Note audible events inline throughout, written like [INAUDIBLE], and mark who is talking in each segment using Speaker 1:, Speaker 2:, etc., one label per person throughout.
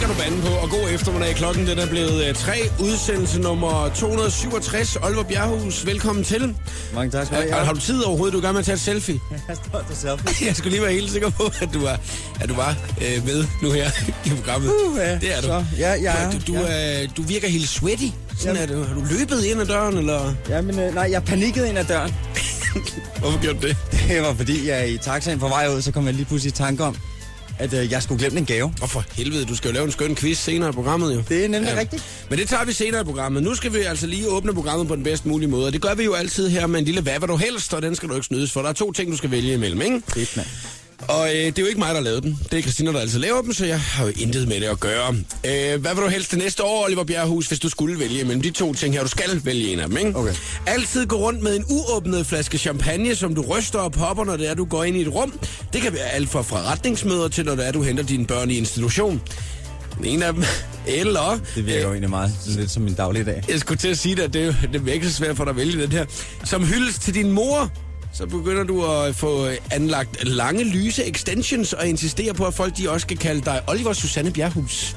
Speaker 1: du banden på, og god eftermiddag. Klokken den er blevet øh, 3, udsendelse nummer 267. Oliver Bjerghus, velkommen til.
Speaker 2: Mange tak skal du
Speaker 1: Ja.
Speaker 2: have.
Speaker 1: Har du tid overhovedet, du er i gang med at tage et selfie? [LAUGHS]
Speaker 2: Jeg står til selfie.
Speaker 1: Jeg skulle lige være helt sikker på, at du var, at du var øh, med nu her i programmet.
Speaker 2: Uh, ja.
Speaker 1: Det er du.
Speaker 2: Så, ja, ja,
Speaker 1: du, du, ja. Øh, du virker helt sweaty. Sådan
Speaker 2: Jamen.
Speaker 1: er du. Har du løbet ind ad døren, eller?
Speaker 2: Jamen, øh, nej, jeg panikkede ind ad døren. [LAUGHS]
Speaker 1: Hvorfor gjorde du det?
Speaker 2: Det var fordi, jeg i taxaen på vej ud, så kom jeg lige pludselig i tanke om, at øh, jeg skulle glemme en gave.
Speaker 1: Og for helvede, du skal jo lave en skøn quiz senere i programmet, jo.
Speaker 2: Det er nemlig rigtigt.
Speaker 1: Men det tager vi senere i programmet. Nu skal vi altså lige åbne programmet på den bedst mulige måde. Og det gør vi jo altid her med en lille hvad vil du helst, og den skal du ikke snydes for. Der er to ting, du skal vælge imellem, ikke?
Speaker 2: Fedt, mand.
Speaker 1: Og øh, det er jo ikke mig, der lavede den. Det er Christina, der altid laver dem, så jeg har jo intet med det at gøre. Øh, hvad vil du helst det næste år, Oliver Bjerrehus, hvis du skulle vælge imellem de to ting her? Du skal vælge en af dem, ikke?
Speaker 2: Okay.
Speaker 1: Altid gå rundt med en uåbnet flaske champagne, som du ryster og popper, når det er, du går ind i et rum. Det kan være alt fra forretningsmøder til, når det er, du henter dine børn i institution. En af dem. [LAUGHS] Eller...
Speaker 2: Det virker jo egentlig meget lidt som min dagligdag.
Speaker 1: Jeg skulle til at sige dig, at det, er jo- det er ikke så svært for dig at vælge den her. Som hyldes til din mor, så begynder du at få øh, anlagt lange, lyse extensions og insistere på, at folk de også skal kalde dig Oliver Susanne Bjerghus.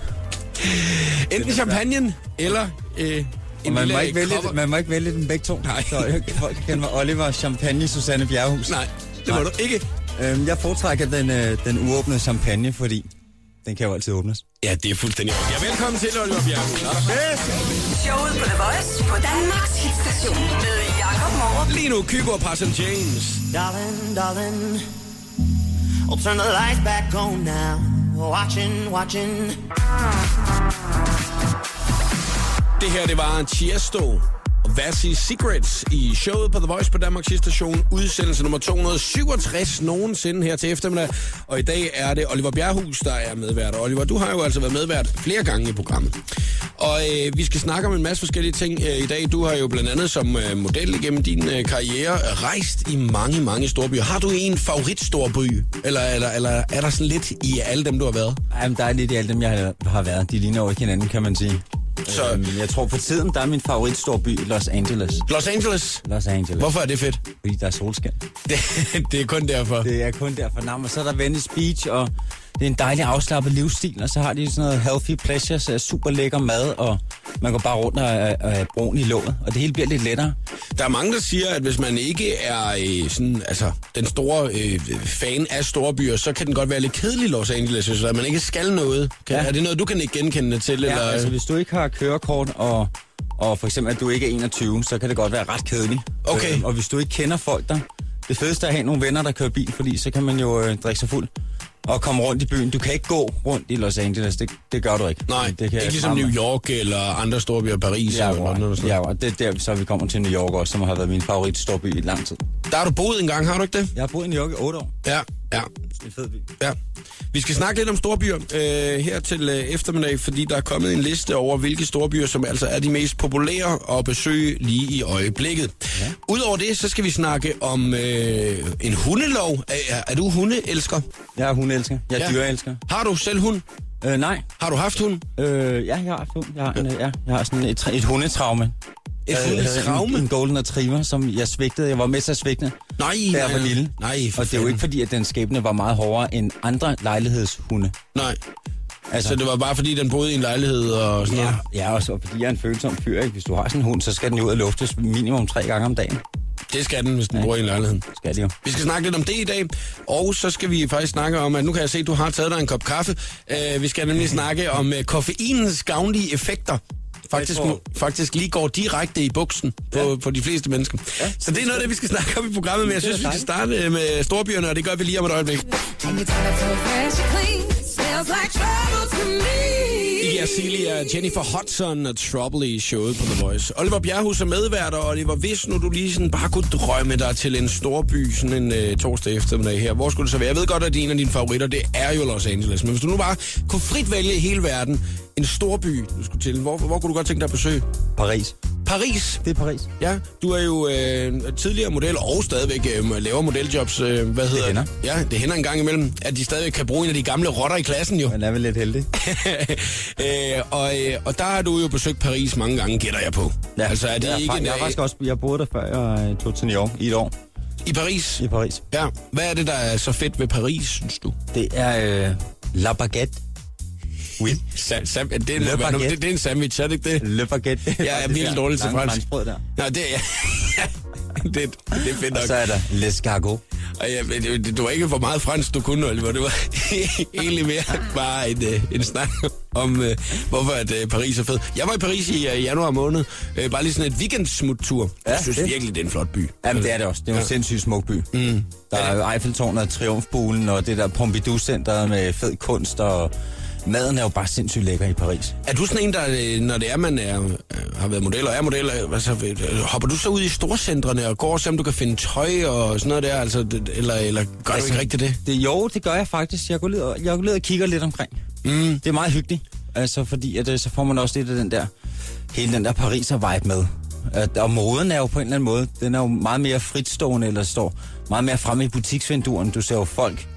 Speaker 1: Enten champagnen eller øh,
Speaker 2: Og
Speaker 1: en
Speaker 2: man,
Speaker 1: lille
Speaker 2: må ikke vælge,
Speaker 1: cover-
Speaker 2: man må ikke vælge dem begge to.
Speaker 1: Nej.
Speaker 2: Så øh, folk kan mig Oliver Champagne Susanne Bjerghus.
Speaker 1: Nej, det må
Speaker 2: Nej.
Speaker 1: du ikke.
Speaker 2: Øhm, jeg foretrækker den, øh, den uåbnede champagne, fordi den kan jo altid åbnes.
Speaker 1: Ja, det er fuldstændig rigtigt. Ja, velkommen til, Oliver Bjerghus.
Speaker 3: Showet på The Voice på Danmarks hitstation med Jakob Morup.
Speaker 1: Lige nu, Kygo og Parson James.
Speaker 4: Darling, darling, I'll turn the lights back on now. Watching, watching.
Speaker 1: Det her, det var Tiesto og Vassi Secrets i showet på The Voice på Danmarks station. Udsendelse nummer 267 nogensinde her til eftermiddag. Og i dag er det Oliver Bjerghus, der er medvært. Og Oliver, du har jo altså været medvært flere gange i programmet. Og øh, vi skal snakke om en masse forskellige ting øh, i dag. Du har jo blandt andet som øh, model igennem din øh, karriere øh, rejst i mange, mange store byer. Har du en favoritstorby? Eller, eller, eller er der sådan lidt i alle dem, du har været?
Speaker 2: Jamen, der er lidt i alle dem, jeg har- har været. De ligner jo ikke hinanden, kan man sige.
Speaker 1: Så-
Speaker 2: Øhm, jeg tror for tiden, der er min favoritstor by Los Angeles.
Speaker 1: Los Angeles?
Speaker 2: Los Angeles.
Speaker 1: Hvorfor er det fedt? [LAUGHS]
Speaker 2: Fordi der er solskin.
Speaker 1: Det, det er kun derfor.
Speaker 2: Det er kun derfor navn. Og så er der Venice Beach, og det er en dejlig afslappet livsstil. Og så har de sådan noget healthy pleasures, øh, super lækker mad, og man går bare rundt og er, er brun i låget. Og det hele bliver lidt lettere.
Speaker 1: Der er mange, der siger, at hvis man ikke er øh, sådan, altså, den store øh, fan af store byer, så kan den godt være lidt kedelig Los Angeles, hvis man ikke skal noget. Kan, ja.
Speaker 2: Ja.
Speaker 1: Er det noget, du kan ikke genkende det til?
Speaker 2: Ja,
Speaker 1: eller?
Speaker 2: altså hvis du ikke har kørekort, og, og for eksempel at du ikke er 21, så kan det godt være ret kedeligt. Øh,
Speaker 1: Okay.
Speaker 2: og hvis du ikke kender folk der, det fedeste er at have nogle venner, der kører bil, fordi så kan man jo øh, drikke sig fuld og komme rundt i byen. Du kan ikke gå rundt i Los Angeles, det, det gør du ikke.
Speaker 1: Nej, det
Speaker 2: jeg
Speaker 1: kan ikke ligesom
Speaker 2: meget-
Speaker 1: New York eller andre store byer, Paris
Speaker 2: Ja,
Speaker 1: eller noget.
Speaker 2: jo,
Speaker 1: andet sådan.
Speaker 2: ja, jo, og det er der, så vi kommer til New York også, som har været min favorit storby i lang tid.
Speaker 1: Der har du boet engang, har du ikke det?
Speaker 2: Jeg har boet i New York i 8 år.
Speaker 1: Ja, ja.
Speaker 2: Det er en fed by.
Speaker 1: Ja. Vi skal snakke lidt om storbyer øh, her til øh, eftermiddag, fordi der er kommet en liste over, hvilke storbyer, som altså er de mest populære at besøge lige i øjeblikket. Ja. Udover det, så skal vi snakke om øh, en hundelov. Er, er- er du hundeelsker?
Speaker 2: Jeg er hundeelsker. Jeg er ja. dyreelsker.
Speaker 1: Har du selv hund?
Speaker 2: Øh, nej.
Speaker 1: Har du haft hund?
Speaker 2: Øh, ja, jeg har, haft hund. jeg har, en, øh, ja, jeg har sådan et, tra- et hundetraume.
Speaker 1: Et
Speaker 2: Jeg havde
Speaker 1: hundetraume?
Speaker 2: En, en golden retriever, som jeg svigtede. Jeg var med til at svigte,
Speaker 1: Nej,
Speaker 2: da jeg
Speaker 1: nej,
Speaker 2: var lille.
Speaker 1: nej, for
Speaker 2: og det er jo
Speaker 1: fanden.
Speaker 2: ikke fordi, at den skæbne var meget hårdere end andre lejlighedshunde.
Speaker 1: Nej. Altså, så det var bare fordi, den boede i en lejlighed og sådan
Speaker 2: Ja,
Speaker 1: noget?
Speaker 2: ja også, og fordi jeg er en følsom fyr. Ikke? Hvis du har sådan en hund, så skal den jo ud og luftes minimum tre gange om dagen.
Speaker 1: Det skal den, hvis den bor i en lejlighed.
Speaker 2: Skal det jo.
Speaker 1: Vi skal snakke lidt om det i dag, og så skal vi faktisk snakke om, at nu kan jeg se, at du har taget dig en kop kaffe. Uh, vi skal nemlig snakke om uh, koffeinens gavnlige effekter. Faktisk,
Speaker 2: Jeg tror-
Speaker 1: faktisk lige går direkte i buksen på, ja. på de fleste mennesker. Ja, så det er noget af det, vi skal snakke om i programmet, men jeg
Speaker 2: Det er
Speaker 1: synes, vi skal
Speaker 2: dejligt.
Speaker 1: starte øh, med storbyerne, og det gør vi lige om et øjeblik.
Speaker 5: And you got it so fresh and clean, smells like trouble to me.
Speaker 1: Iggy Azalea, Jennifer Hudson og Trouble i showet på The Voice. Oliver Bjerghus er medvært, og Oliver, hvis nu du lige sådan bare kunne drømme dig til en stor by sådan en øh, torsdag eftermiddag her, hvor skulle det så være? Jeg ved godt, at det er en af dine favoritter, det er jo Los Angeles, men hvis du nu bare kunne frit vælge i hele verden en stor by, du skulle til, hvor, hvor kunne du godt tænke dig at besøge?
Speaker 2: Paris.
Speaker 1: Paris!
Speaker 2: Det er Paris.
Speaker 1: Ja, du er jo øh, tidligere model og stadigvæk øh, laver modeljobs. Øh, hvad hedder
Speaker 2: hænder.
Speaker 1: Ja, det hænder en gang imellem, at de stadigvæk kan bruge en af de gamle rotter i klassen jo.
Speaker 2: Man er vel lidt heldig.
Speaker 1: [LAUGHS] øh, og, øh, og der har du jo besøgt Paris mange gange, gætter jeg på. Ja, altså, er det
Speaker 2: jeg,
Speaker 1: ikke
Speaker 2: Jeg,
Speaker 1: en,
Speaker 2: jeg, faktisk også, jeg boede der før, jeg øh, tog til New York i et år
Speaker 1: øh, i Paris?
Speaker 2: i Paris.
Speaker 1: Ja. Hvad er det, der er så fedt ved Paris, synes du?
Speaker 2: Det er øh, La Baguette. Oui.
Speaker 1: Sam, sam, ja, det, er,
Speaker 2: Le
Speaker 1: hvad nu-
Speaker 2: baguette.
Speaker 1: det, det er en sandwich, er det ikke det?
Speaker 2: Le baguette. [LAUGHS] det
Speaker 1: Jeg er
Speaker 2: faktisk
Speaker 1: virkelig
Speaker 2: der
Speaker 1: dårlig til
Speaker 2: lange
Speaker 1: fransk.
Speaker 2: franskbrød der.
Speaker 1: Nå, det, ja, det, [LAUGHS] det er fedt
Speaker 2: Og
Speaker 1: nok.
Speaker 2: så er der l'escargot.
Speaker 1: Og ja, men det, det var ikke for meget fransk, du kunne, Oliver. Det var [LAUGHS] egentlig mere bare en, øh, en snak om, øh, hvorfor at, øh, Paris er fed. Jeg var i Paris i øh, januar måned. Øh, bare lige sådan et weekendsmuttur. Ja,
Speaker 2: Ja,
Speaker 1: jeg synes det.
Speaker 2: det.
Speaker 1: virkelig, det er en flot by.
Speaker 2: Jamen, det er det også. Det er jo en
Speaker 1: Ja.
Speaker 2: sindssygt smuk by. Mm. Der er jo Eiffeltårnet og Triumfbuen og det der Pompidou-center med fed kunst, og maden er jo bare sindssygt lækker i Paris.
Speaker 1: Er du sådan en, der, øh, når det er, man er, øh, har været model og er model, øh, altså, øh, hopper du så ud i storcentrene og går og ser, om du kan finde tøj og sådan noget der? Altså, det- eller, eller gør altså, du ikke rigtigt det?
Speaker 2: det? Jo, det gør jeg faktisk. Jeg går ned og, jeg går ned og kigger lidt omkring. Mm. Det er meget hyggeligt, altså, fordi at, øh, så får man også lidt af den der, hele den der Pariser-vibe med. At, og moden er jo på en eller anden måde, den er jo meget mere fritstående, eller står meget mere fremme i butiksvinduerne. Du ser jo folk,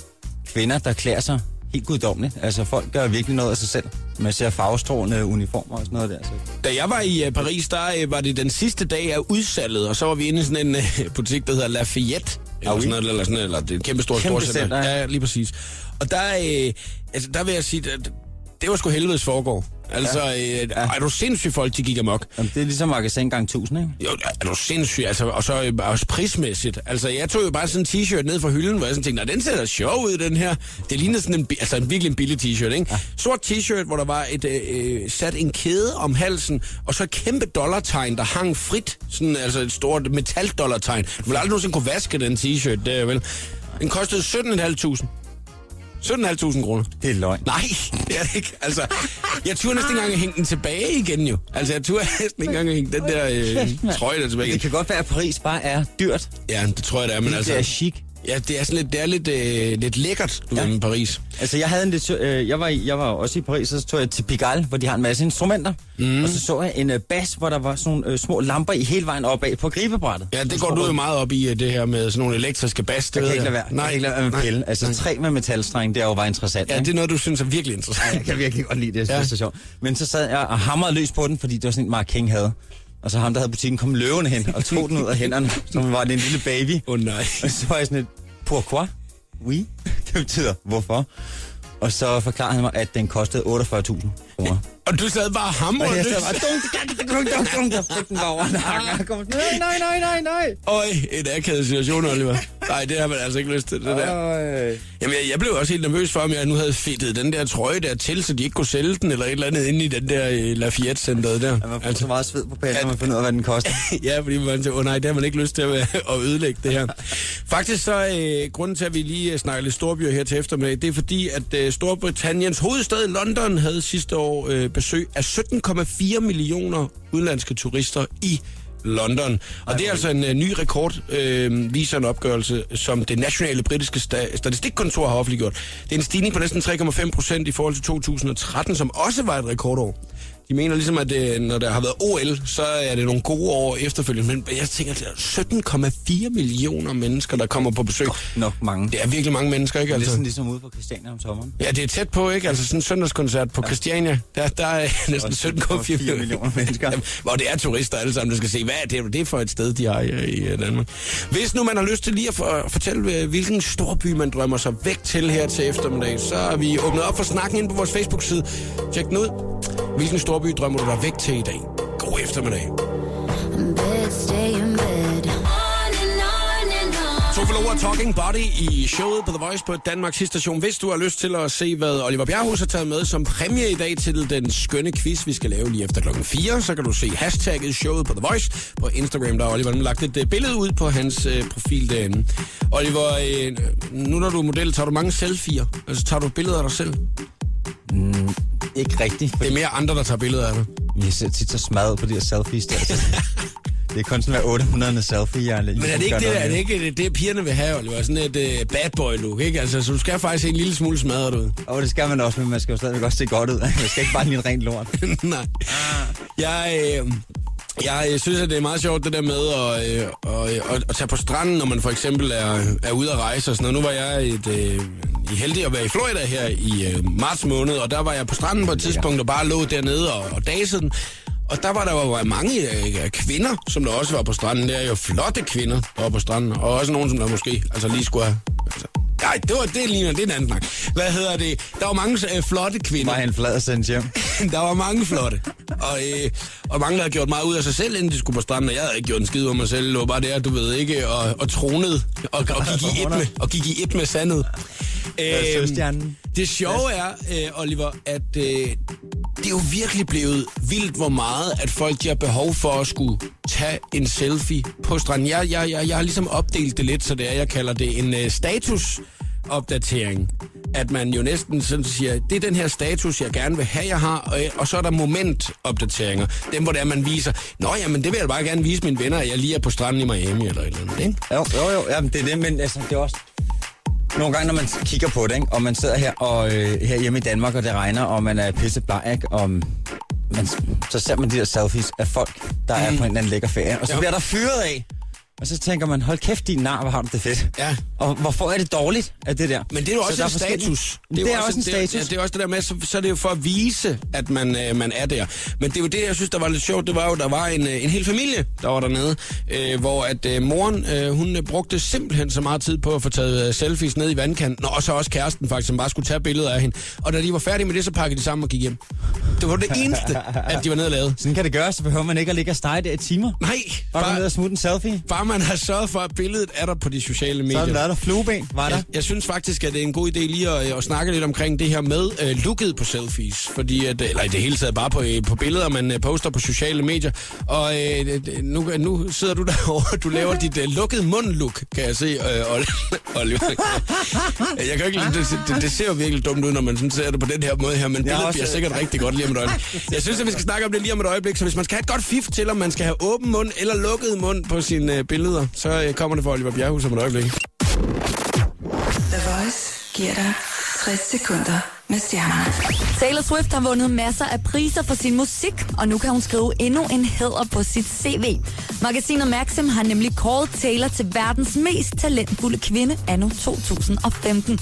Speaker 2: kvinder, der klæder sig helt guddommeligt. Altså folk gør virkelig noget af sig selv. Man ser farvestrålende uniformer og sådan noget der. Så.
Speaker 1: Da jeg var i øh, Paris, der øh, var det den sidste dag af udsalget, og så var vi inde i sådan en øh, butik, der hedder Lafayette. Eller,
Speaker 2: Ah, oui.
Speaker 1: sådan noget, eller, sådan, noget, eller det er et kæmpe stort
Speaker 2: Kæmpe
Speaker 1: storcenter.
Speaker 2: center, ja.
Speaker 1: Ja, lige præcis. Og der, øh, altså, der vil jeg sige, at det var sgu helvedes foregår. Altså, ja. Øh, er du sindssyg folk, de gik amok?
Speaker 2: Jamen, det er ligesom magasin gang 1000, ikke?
Speaker 1: Jo, er du sindssyg, altså, og så øh, også prismæssigt. Altså, jeg tog jo bare sådan en t-shirt ned fra hylden, hvor jeg sådan tænkte, nej, den ser da sjov ud, den her. Det ligner sådan en, bi- altså en virkelig en billig t-shirt, ikke? Ja. Sort t-shirt, hvor der var et, øh, øh, sat en kæde om halsen, og så et kæmpe dollartegn, der hang frit. Sådan, altså et stort metaldollartegn. Du ville aldrig nogensinde kunne vaske den t-shirt, der, vel? Den kostede 17.500. 17.500 kroner.
Speaker 2: Det er løgn.
Speaker 1: Nej, det er det ikke. Altså, jeg turde næsten ikke engang at hænge den tilbage igen jo. Altså, jeg turde næsten ikke engang at hænge den der øh, trøje der tilbage
Speaker 2: Det
Speaker 1: igen.
Speaker 2: kan godt være, at Paris bare er dyrt.
Speaker 1: Ja, det tror jeg, det er, men
Speaker 2: Men
Speaker 1: altså...
Speaker 2: Det er chic.
Speaker 1: Ja, det er sådan lidt, det er lidt, øh, lidt lækkert, du ja.
Speaker 2: Ja.
Speaker 1: i Paris.
Speaker 2: Altså, jeg havde en lidt, sjov- øh, jeg var, i- jeg var også i Paris, og så tog jeg til Pigalle, hvor de har en masse instrumenter. Mm. Og så så jeg en øh, bas, hvor der var sådan nogle øh, små lamper i hele vejen opad på gribebrættet.
Speaker 1: Ja,
Speaker 2: Sådan
Speaker 1: det går
Speaker 2: små
Speaker 1: du jo
Speaker 2: røde-
Speaker 1: meget op i, øh, det her med sådan nogle elektriske bas.
Speaker 2: Jeg
Speaker 1: ved
Speaker 2: kan ikke lade være. Nej, jeg
Speaker 1: Nej,
Speaker 2: kan ikke lade være med at pille. Altså, træ med metalstreng, det er jo bare interessant.
Speaker 1: ja,
Speaker 2: ikke?
Speaker 1: det er noget, du synes er virkelig
Speaker 2: Ja, jeg
Speaker 1: interessant.
Speaker 2: kan virkelig godt lide det, jeg synes,
Speaker 1: Ja.
Speaker 2: ja. det er sjovt. Men så sad jeg og hamrede løs på den, fordi det var sådan en, Mark King havde. Og så ham, der havde butikken, kom løvende hen og tog den ud af hænderne, som var det en lille baby.
Speaker 1: Åh oh, nej.
Speaker 2: Og [LAUGHS] så var jeg sådan et, pourquoi? Oui. [LAUGHS] Det betyder, hvorfor? Og så forklarede han mig, at den kostede 48.000 kroner.
Speaker 1: Og du sad bare hammer.
Speaker 2: Og jeg sad bare, dunk, dunk, dunk, dunk, dunk, dunk, og fik den bare over nakken. Og jeg kom, [LAUGHS] nej, nej, nej, nej, nej.
Speaker 1: Øj, et akavet situation, Oliver. Nej, det har man altså ikke lyst til, det der.
Speaker 2: Øj.
Speaker 1: Jamen, jeg, jeg blev også helt nervøs for, om jeg nu havde fedtet den der trøje der til, så de ikke kunne sælge den, eller et eller andet inde i den der øh, Lafayette-centeret der.
Speaker 2: Man får så meget sved på panden, når man finder ud af, hvad den koster.
Speaker 1: [LAUGHS] Ja, fordi man tænker, åh nej, det har man ikke lyst til at, [LAUGHS] at ødelægge det her. Faktisk så, øh, grunden til, at vi lige øh, snakker lidt storbyer her til eftermiddag, det er fordi, at øh, Storbritanniens hovedstad London havde sidste år øh, besøg af 17,4 millioner udenlandske turister i London. Og det er altså en øh, ny rekord, øh, viser en opgørelse, som det nationale britiske sta- statistikkontor har offentliggjort. Det er en stigning på næsten 3,5 procent i forhold til 2013, som også var et rekordår. De mener ligesom, at øh, når der har været OL, så er det nogle gode år efterfølgende. Men jeg tænker, at der er 17,4 millioner mennesker, der kommer på besøg.
Speaker 2: [LAUGHS] Nok mange. Det
Speaker 1: Det er virkelig mange mennesker, ikke?
Speaker 2: er
Speaker 1: Altså.
Speaker 2: næsten ligesom ude på Christiania om sommeren.
Speaker 1: Ja, det er tæt på, ikke? Altså sådan en søndagskoncert på Christiania, der, der er næsten 17,4
Speaker 2: 17,4 millioner mennesker.
Speaker 1: Jamen, Hvor det er turister alle sammen, der skal se, hvad er det, det er for et sted, de har i, i øh, Danmark. Hvis nu man har lyst til lige at for, fortælle, øh, hvilken stor by man drømmer sig væk til her til eftermiddag, så har vi åbnet op for snakken inde på vores Facebook-side. Tjek den ud. Hvilken stor by drømmer du dig væk til i dag? God eftermiddag.
Speaker 5: Bed, stay in bed. On and on and on.
Speaker 1: Tofel over Talking Body i showet på The Voice på Danmarks station. Hvis du har lyst til at se, hvad Oliver Bjerghus har taget med som præmie i dag til den skønne quiz, vi skal lave lige efter klokken 4, så kan du se hashtagget showet på The Voice på Instagram. Der har Oliver nemlig lagt et øh, billede ud på hans øh, profil derinde. Oliver, øh, nu når du er model, tager du mange selfies? Altså tager du billeder af dig selv? Det
Speaker 2: Ikke rigtigt,
Speaker 1: er mere andre, der tager billeder af dig.
Speaker 2: Men Jeg ser tit så smadret på de her selfies der. [LAUGHS] det er kun sådan hver 800. selfie, jeg lige
Speaker 1: Men er det ikke det, er det, ikke det, det pigerne vil have, Oliver? Sådan et øh, bad boy look, ikke? Altså, så du skal faktisk se en lille smule smadret ud.
Speaker 2: Og det skal man også, men man skal jo stadigvæk også se godt ud. [LAUGHS] Man skal ikke bare lige en ren lort.
Speaker 1: [LAUGHS] Nej. Jeg, øh, jeg øh, synes, at det er meget sjovt, det der med at, øh, og, øh, at, at tage på stranden, når man for eksempel er, er ude at rejse og sådan noget. Nu var jeg et, øh, heldig at være i Florida her i øh, marts måned, og der var jeg på stranden på et tidspunkt, og bare lå dernede og, og dasede den. Og der var der jo mange øh, kvinder, som der også var på stranden. Det er jo flotte kvinder, der var på stranden. Og også nogen, som der måske altså lige skulle have altså, Nej, det, var, det ligner, det er en anden snak. Hvad hedder det? Der var mange øh, flotte kvinder.
Speaker 2: Var han flad og sendt hjem?
Speaker 1: [LAUGHS] Der var mange flotte. Og, øh, og mange, der havde gjort meget ud af sig selv, inden de skulle på stranden. Og jeg havde ikke gjort en skid ud af mig selv. Det var bare der, du ved ikke, og, og tronede. Og, og, gik i et med, og gik i et med sandet.
Speaker 2: er søstjernen.
Speaker 1: Øhm, det sjove er, øh, Oliver, at øh, det er jo virkelig blevet vildt, hvor meget, at folk de har behov for at skulle tage en selfie på stranden. Jeg, jeg, jeg, jeg har ligesom opdelt det lidt, så det er, jeg kalder det en øh, statusopdatering. At man jo næsten sådan siger, det er den her status, jeg gerne vil have, jeg har, og, øh, og så er der momentopdateringer. Dem, hvor det er, man viser, nå jamen, det vil jeg bare gerne vise mine venner, at jeg lige er på stranden i Miami eller et eller andet, ikke?
Speaker 2: Jo, jo, jo. Jamen, det er det, men altså, det er også... Nogle gange, når man kigger på det, ikke? og man sidder her, og, øh, her hjemme i Danmark, og det regner, og man er pissebleg, ikke? og man, så ser man de der selfies af folk, der er på en eller anden lækker ferie, og så
Speaker 1: Mm. Jo.
Speaker 2: bliver der fyret af. Og så tænker man, hold kæft, din nar, hvor har du det fedt.
Speaker 1: Ja.
Speaker 2: Og hvorfor er det dårligt af det der?
Speaker 1: Men det er jo
Speaker 2: Så
Speaker 1: også
Speaker 2: der
Speaker 1: en
Speaker 2: forskellige-
Speaker 1: status.
Speaker 2: Det er, det er også en status.
Speaker 1: Det er, ja, det er også det der med, så, så er det jo for at vise, at man, øh, man er der. Men det er jo det, jeg synes, der var lidt sjovt. Det var jo, der var en, øh, en hel familie, der var dernede, øh, hvor at øh, moren, øh, hun øh, brugte simpelthen så meget tid på at få taget øh, selfies ned i vandkanten, og så også kæresten faktisk, som bare skulle tage billeder af hende. Og da de var færdige med det, så pakkede de sammen og gik hjem. Det var det eneste, at de var nede og lavede.
Speaker 2: Sådan kan det gøres, så behøver man ikke at ligge og stege der i timer.
Speaker 1: Nej,
Speaker 2: Bare gå ned
Speaker 1: bare,
Speaker 2: og smutte en selfie.
Speaker 1: bare man har sørget for, at billedet er der på de sociale medier.
Speaker 2: Så er der der flueben, var der.
Speaker 1: Jeg, jeg synes faktisk, at det er en god idé lige at, at snakke lidt omkring det her med øh, looket på selfies. Fordi at, eller i det hele taget bare på, øh, på billeder, man øh, poster på sociale medier. Og øh, det- det- nu, nu sidder du [LAUGHS] derovre, og du laver dit øh, lukkede mundlook, kan jeg se, øh, [LAUGHS] Ol- Oliver. jeg kan jo ikke lide- det, det, det ser jo virkelig dumt ud, når man sådan ser det på den her måde her, men billedet
Speaker 2: også,
Speaker 1: bliver
Speaker 2: øh,
Speaker 1: sikkert rigtig godt lige om et
Speaker 2: [LAUGHS]
Speaker 1: øjeblik. Jeg synes, at vi skal snakke om det lige om et øjeblik, så hvis man skal have et godt fif til, om man skal have åben mund eller lukket mund på sine øh, billeder, så øh, kommer det for Oliver Bjerghus om et øjeblik.
Speaker 3: The Voice giver dig 60 sekunder med stjernerne.
Speaker 6: Taylor Swift har vundet masser af priser for sin musik, og nu kan hun skrive endnu en hæder på sit CV. Magasinet Maxim har nemlig kåret Taylor til verdens mest talentfulde kvinde anno 2015.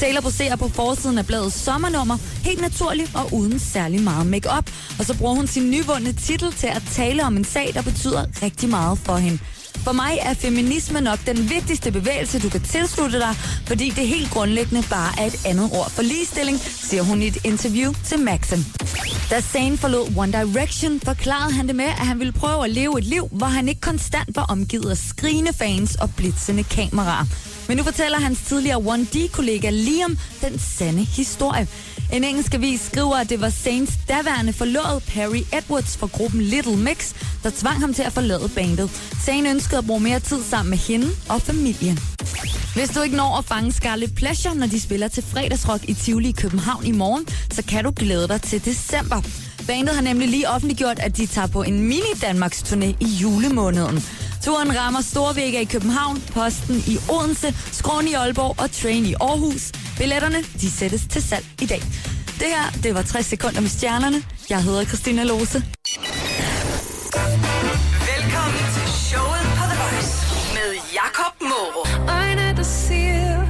Speaker 6: Taylor poserer på forsiden af bladets sommernummer, helt naturligt og uden særlig meget makeup, og så bruger hun sin nyvundne titel til at tale om en sag, der betyder rigtig meget for hende. For mig er feminisme nok den vigtigste bevægelse, du kan tilslutte dig, fordi det helt grundlæggende bare er et andet ord for ligestilling, siger hun i et interview til Maxim. Da Zayn forlod One Direction, forklarede han det med, at han ville prøve at leve et liv, hvor han ikke konstant var omgivet af skrigende fans og blitzende kameraer. Men nu fortæller hans tidligere 1D-kollega Liam den sande historie. En engelsk avis skriver, at det var Saints daværende forlovede Perry Edwards fra gruppen Little Mix, der tvang ham til at forlade bandet. Sagen ønskede at bruge mere tid sammen med hende og familien. Hvis du ikke når at fange Scarlet Pleasure, når de spiller til fredagsrock i Tivoli i København i morgen, så kan du glæde dig til december. Bandet har nemlig lige offentliggjort, at de tager på en mini-Danmarks turné i julemåneden. Turen rammer Storvægger i København, Posten i Odense, Skråen i Aalborg og Train i Aarhus. Billetterne, de sættes til salg i dag. Det her, det var 60 sekunder med stjernerne. Jeg hedder Christina Lose.
Speaker 3: Velkommen til showet på The Voice med Jakob Morup.
Speaker 5: Øjne, der siger,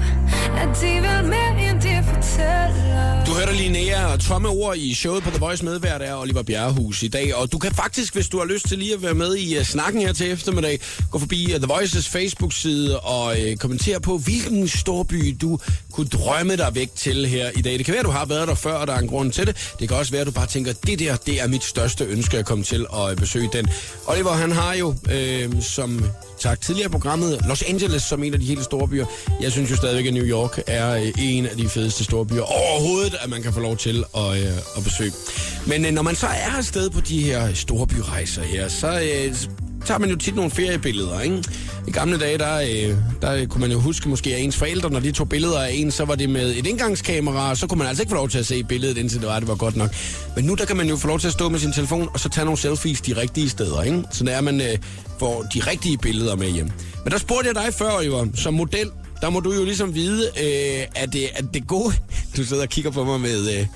Speaker 5: at de vil mere, end de fortæller.
Speaker 1: Du hørte Linnea og tomme ord i showet på The Voice medvært er Oliver Bjerrehus i dag. Og du kan faktisk, hvis du har lyst til lige at være med i uh, snakken her til eftermiddag, gå forbi uh, The Voices Facebook-side og uh, kommentere på, hvilken storby du kunne drømme dig væk til her i dag. Det kan være, du har været der før, og der er en grund til det. Det kan også være, at du bare tænker, det der, det er mit største ønske at komme til at øh, besøge den. Oliver, han har jo, øh, som sagt tidligere i programmet, Los Angeles som en af de helt store byer. Jeg synes jo stadigvæk, at New York er øh, en af de fedeste store byer overhovedet, at man kan få lov til at, øh, at besøge. Men øh, når man så er afsted på de her store byrejser her, så øh, s- tager man jo tit nogle feriebilleder, ikke? I gamle dage, der, øh, der kunne man jo huske måske, at ens forældre, når de tog billeder af en, så var det med et indgangskamera, og så kunne man altså ikke få lov til at se billedet, indtil det var, det var godt nok. Men nu, der kan man jo få lov til at stå med sin telefon, og så tage nogle selfies de rigtige steder, ikke? Så der er, man øh, får de rigtige billeder med hjem. Men der spurgte jeg dig før, Oliver, som model, der må du jo ligesom vide, øh, at, det, at det gode... [LAUGHS] Du sidder og kigger på mig med, øh,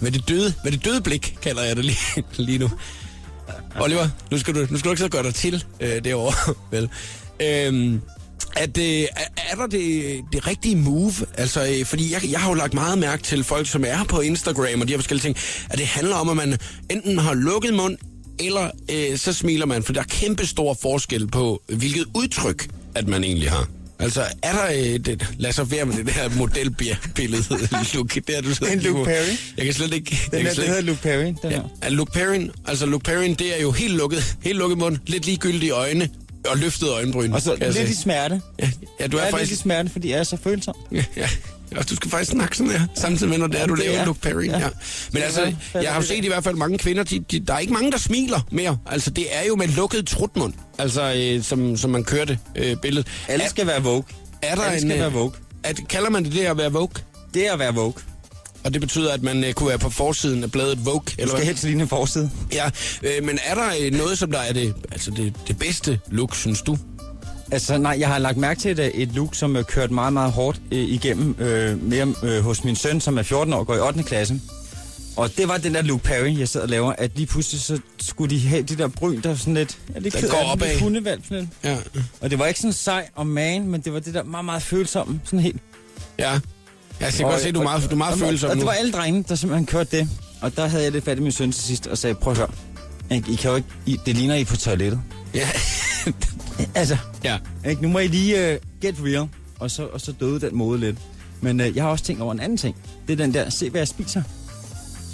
Speaker 1: med, det, døde, med det døde blik, kalder jeg det lige, [LAUGHS] lige nu.
Speaker 2: Altså-
Speaker 1: Oliver, nu skal du, nu skal du ikke så gøre dig til øh, derovre, [LAUGHS] vel? Øhm, at, øh, er, er der det, det rigtige move? Altså, øh, fordi jeg, jeg har jo lagt meget mærke til folk, som er på Instagram og de her forskellige ting, at det handler om, at man enten har lukket mund, eller øh, så smiler man, for der er kæmpe stor forskel på, hvilket udtryk, at man egentlig har. Altså, er der et... et lad os så være med det der modelbillede, [LAUGHS] Luke. Der, du sidder
Speaker 2: En
Speaker 1: og kigger
Speaker 2: Luke
Speaker 1: på.
Speaker 2: Perry?
Speaker 1: Jeg kan slet ikke... jeg kan
Speaker 2: Den der,
Speaker 1: slet
Speaker 2: der
Speaker 1: ikke-
Speaker 2: hedder Luke Perry, den
Speaker 1: Ja.
Speaker 2: her.
Speaker 1: Er Luke Perrin, altså Luke Perrin, det er jo helt lukket, helt lukket mund, lidt ligegyldige øjne og løftede øjenbryn.
Speaker 2: Og så
Speaker 1: kan jeg
Speaker 2: lidt i
Speaker 1: se.
Speaker 2: smerte.
Speaker 1: Ja, ja, du
Speaker 2: Jeg
Speaker 1: er
Speaker 2: er lidt i
Speaker 1: faktisk...
Speaker 2: smerte, fordi jeg er så følsom.
Speaker 1: [LAUGHS] Ja, og du skal faktisk snakke sådan her, samtidig med, når det er, du
Speaker 2: det
Speaker 1: laver
Speaker 2: er.
Speaker 1: Luke Perrin. Ja.
Speaker 2: Ja.
Speaker 1: Men altså,
Speaker 2: Ja,
Speaker 1: jeg har jo
Speaker 2: det er.
Speaker 1: set i hvert fald mange kvinder, de, de, der er ikke mange, der smiler mere. Altså, det er jo med lukket trutmund, altså, øh, som, som man kørte øh, billedet.
Speaker 2: Alle skal være woke.
Speaker 1: er, er der
Speaker 2: alle
Speaker 1: en,
Speaker 2: skal
Speaker 1: øh,
Speaker 2: være woke.
Speaker 1: At, kalder man det det at være woke?
Speaker 2: Det er at være woke.
Speaker 1: Og det betyder, at man øh, kunne være på forsiden af bladet Vogue?
Speaker 2: Du
Speaker 1: Eller
Speaker 2: skal
Speaker 1: hvad?
Speaker 2: helst ligne en forside.
Speaker 1: Ja, øh, men er der øh, noget, som der er det, altså det, det bedste look, synes du?
Speaker 2: Altså nej, jeg har lagt mærke til et, et look, som øh, kørte meget, meget hårdt øh, igennem øh, mere, øh, hos min søn, som er 14 år og går i 8. klasse. Og det var den der Luke Perry, jeg sad og laver, at lige pludselig så skulle de have de der bryn, der sådan lidt... Jeg er lidt
Speaker 1: Der
Speaker 2: ked
Speaker 1: går
Speaker 2: af den,
Speaker 1: opad.
Speaker 2: lidt hundevalp, sådan lidt.
Speaker 1: Ja.
Speaker 2: Og det var ikke sådan sej og man, men det var det der meget, meget følsomme, sådan helt.
Speaker 1: Ja. Altså, jeg kan godt se, du er meget, du er meget
Speaker 2: og, altså,
Speaker 1: følsom
Speaker 2: Og
Speaker 1: nu.
Speaker 2: det var alle drengene, der simpelthen kørte det. Og der havde jeg lidt fat i min søn til sidst og sagde, prøv at høre, ikke? I kan jo ikke, I, det ligner I er
Speaker 1: [LAUGHS]
Speaker 2: på toilettet.
Speaker 1: Ja.
Speaker 2: Altså,
Speaker 1: ja.
Speaker 2: ikke? nu må I lige uh, get real. Og så, og så døde den måde lidt. Men uh, jeg har også tænkt over en anden ting. Det er den der, se hvad jeg spiser.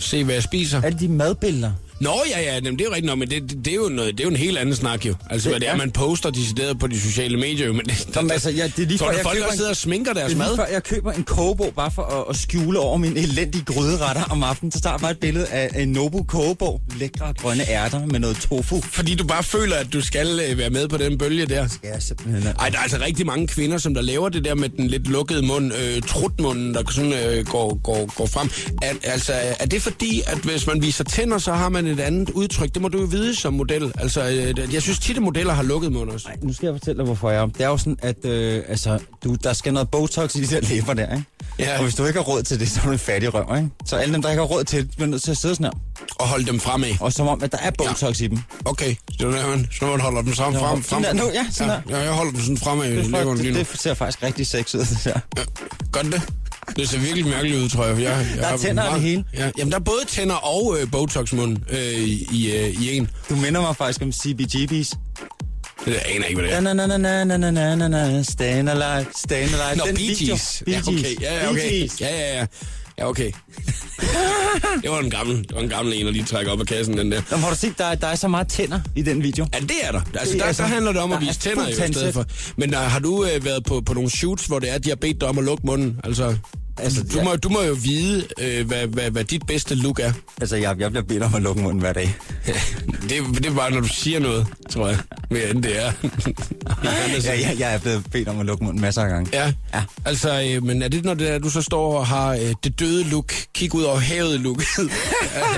Speaker 1: Se, hvad jeg spiser.
Speaker 2: Alle de madbilleder.
Speaker 1: Nå, ja, ja, jamen, det er jo rigtigt nok, men det, det, det, er jo noget, det er jo en helt anden snak jo. Altså, hvad det er,
Speaker 2: Ja.
Speaker 1: man poster decideret på de sociale medier jo, men det,
Speaker 2: Som, altså, ja, det er lige
Speaker 1: tror
Speaker 2: før,
Speaker 1: du,
Speaker 2: jeg
Speaker 1: folk
Speaker 2: køber
Speaker 1: også
Speaker 2: en-
Speaker 1: sidder og sminker
Speaker 2: Det
Speaker 1: deres
Speaker 2: er lige
Speaker 1: mad?
Speaker 2: før, jeg køber en kogebog bare for at, at skjule over min elendige gryderetter om aftenen. Så tager jeg bare et billede af en Nobu kogebog. Lækre grønne ærter med noget tofu.
Speaker 1: Fordi du bare føler, at du skal øh, være med på den bølge der.
Speaker 2: Ja, simpelthen.
Speaker 1: Ej, der er altså rigtig mange kvinder, som der laver det der med den lidt lukkede mund, øh, trutmunden, der sådan øh, går, går, går frem. At, altså, er det fordi, at hvis man viser tænder, så har man et andet udtryk? Det må du jo vide som model. Altså, øh, jeg synes tit, at modeller har lukket mund også.
Speaker 2: Nej, nu skal jeg fortælle dig, hvorfor jeg er. Det er jo sådan, at øh, altså, du, der skal noget Botox i de der læber der, ikke?
Speaker 1: Ja.
Speaker 2: Og hvis du ikke har råd til det, så er du en fattig røv, ikke? Så alle dem, der ikke har råd til det, bliver nødt til at sidde sådan her.
Speaker 1: Og holde dem fremad.
Speaker 2: Og som om, at der er Botox ja. i dem.
Speaker 1: Okay, så når man, så når man holder dem sammen
Speaker 2: Nå,
Speaker 1: frem. frem.
Speaker 2: sådan der. Nu, ja, sådan
Speaker 1: ja, ja, jeg holder dem sådan fremad. i
Speaker 2: Det, er
Speaker 1: læberne
Speaker 2: faktisk,
Speaker 1: lige nu.
Speaker 2: det, det ser faktisk rigtig sexet ud, det der.
Speaker 1: Ja, Gør den det? Det ser virkelig mærkeligt ud, tror jeg. for jeg, jeg
Speaker 2: Der er
Speaker 1: har
Speaker 2: tænder i det hele.
Speaker 1: Ja, jamen, der er både tænder og øh, botoxmund øh, i, øh, i en.
Speaker 2: Du minder mig faktisk om CBGB's.
Speaker 1: Det aner jeg ikke, hvad det
Speaker 2: Na
Speaker 1: er.
Speaker 2: na na na na na na na na na Stayin' alive, stayin' alive.
Speaker 1: Nå,
Speaker 2: Den
Speaker 1: Bee
Speaker 2: video.
Speaker 1: Gees.
Speaker 2: Bee
Speaker 1: Ja, okay.
Speaker 2: Gees.
Speaker 1: Ja, ja,
Speaker 2: Bee
Speaker 1: okay.
Speaker 2: Gees.
Speaker 1: Ja, ja, ja. Ja,
Speaker 2: [LAUGHS]
Speaker 1: okay. det var en gammel, det var en gammel en, der lige trækker op af kassen, den der.
Speaker 2: Nå, men har du set, der er, der er så meget tænder i den video?
Speaker 1: Ja, det er der. Altså,
Speaker 2: Det
Speaker 1: der,
Speaker 2: er
Speaker 1: der
Speaker 2: sådan-
Speaker 1: handler det om at
Speaker 2: der er
Speaker 1: vise tænder jo, i
Speaker 2: fuldt
Speaker 1: stedet for. Men der, har du øh, været på, på nogle shoots, hvor det er, de har bedt dig om at lukke munden? Altså, altså
Speaker 2: Altså,
Speaker 1: du,
Speaker 2: ja.
Speaker 1: må, du må jo vide, øh, hvad, hvad, hvad dit bedste look er.
Speaker 2: Altså, jeg, jeg bliver bedt om at lukke munden hver dag.
Speaker 1: det, det er bare, når du siger noget, tror jeg. Mere end det er.
Speaker 2: [LAUGHS]
Speaker 1: [LAUGHS]
Speaker 2: Ja, jeg, jeg er blevet bedt om at lukke munden masser af gange.
Speaker 1: Ja. ja,
Speaker 2: Ja.
Speaker 1: altså, øh, men er det, når det er, du så står og har øh, det døde look, kig ud over havet look, [LAUGHS]